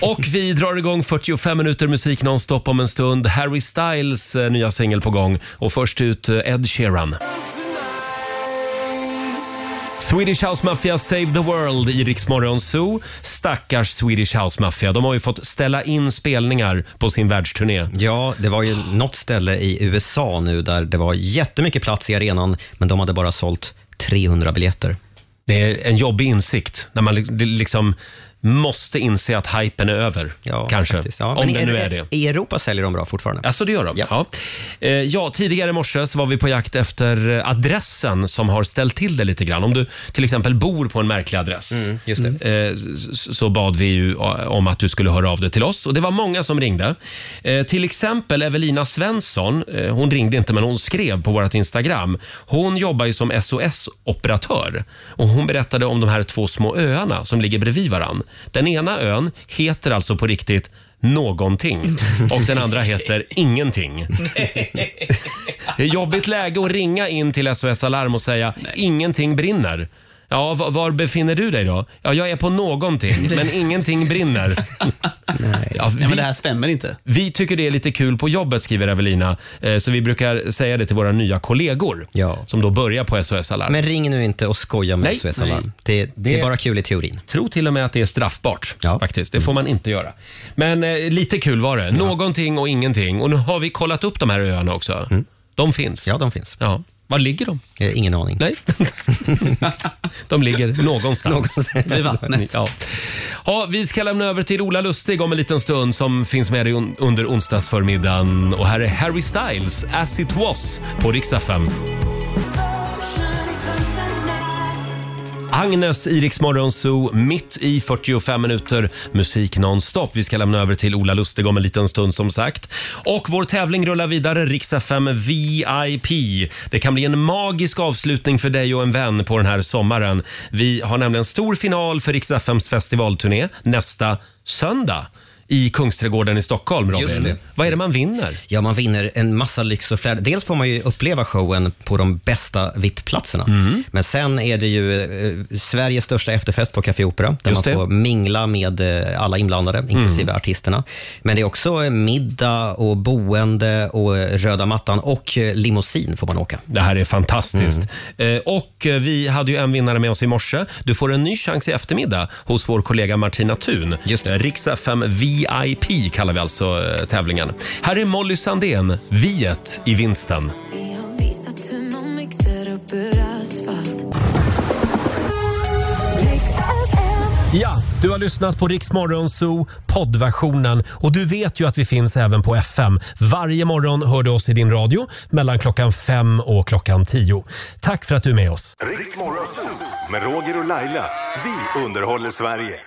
Och vi drar igång 45 minuter musik nonstop om en stund. Harry Styles eh, nya singel på gång och först ut eh, Ed Sheeran. Swedish House Mafia Save the World i Rix Morgon Zoo. Stackars Swedish House Mafia. De har ju fått ställa in spelningar på sin världsturné. Ja, det var ju något ställe i USA nu där det var jättemycket plats i arenan, men de hade bara sålt 300 biljetter. Det är en jobbig insikt när man li- det liksom måste inse att hypen är över. kanske. Om Men det i- nu är det. I Europa säljer de bra fortfarande. Alltså det gör de? Ja. Ja. Eh, ja, tidigare i morse så var vi på jakt efter eh, adressen som har ställt till det lite grann. Om du till exempel bor på en märklig adress Mm, just eh, s- så bad vi ju eh, om att du skulle höra av dig till oss och det var många som ringde. Eh, Till exempel Evelina Svensson, eh, hon ringde inte men hon skrev på vårt Instagram. Hon jobbar ju som SOS-operatör och hon berättade om de här två små öarna som ligger bredvid varann. Den ena ön heter alltså på riktigt någonting och den andra heter ingenting. Det är jobbigt läge att ringa in till SOS Alarm och säga ingenting brinner. Ja, var, var befinner du dig då? Ja, jag är på någonting, men ingenting brinner. Ja, vi, Nej, men det här stämmer inte. vi tycker det är lite kul på jobbet, skriver Evelina. Eh, Så vi brukar säga det till våra nya kollegor som då börjar på SOS Alarm. Men ring nu inte och skoja med Nej. SOS Alarm. Nej. Det, det, Det- är bara kul i teorin. Tror till och med att det är straffbart. faktiskt. Mm. Det får man inte göra. Men eh, lite kul var det. Någonting och ingenting. Och nu har vi kollat upp de här öarna också. De finns. Ja, Mm. de finns. Ja. Var ligger de? Eh, ingen aning. Nej. de ligger någonstans. Vid vattnet. Ja. Ja, vi ska lämna över till Ola Lustig om en liten stund som finns med dig un- under onsdagsförmiddagen. Och här är Harry Styles, As it was, på riksdag 5. Agnes i Rix Morgon Zoo, mitt i 45 minuter musik nonstop. Vi ska lämna över till Ola Lustig om en liten stund som sagt. Och vår tävling rullar vidare, Rix FM VIP. Det kan bli en magisk avslutning för dig och en vän på den här sommaren. Vi har nämligen stor final för Rix FMs festivalturné nästa söndag i Kungsträdgården i Stockholm, Robin. Just det. Vad är det man vinner? Ja, man vinner en massa lyx och flärd. Dels får man ju uppleva showen på de bästa VIP-platserna. Mm. Men sen är det ju eh, Sveriges största efterfest på Café Opera, där Just man det. får mingla med eh, alla inblandade, inklusive Mm. artisterna. Men det är också eh, middag och boende och eh, röda mattan och eh, limousin får man åka. Det här är fantastiskt. Eh, Och eh, vi hade ju en vinnare med oss i morse. Du får en ny chans i eftermiddag hos vår kollega Martina Thun. Just det. Riks FM VIP kallar vi alltså eh, tävlingen. Här är Molly Sandén, Viet i vinsten. Vi har visat hur man mixar upp ur asfalt Ja, du har lyssnat på Riks Zoo poddversionen och du vet ju att vi finns även på FM. Varje morgon hör du oss i din radio mellan klockan fem och klockan tio. Tack för att du är med oss. Riks Morgonzoo med Roger och Laila. Vi underhåller Sverige.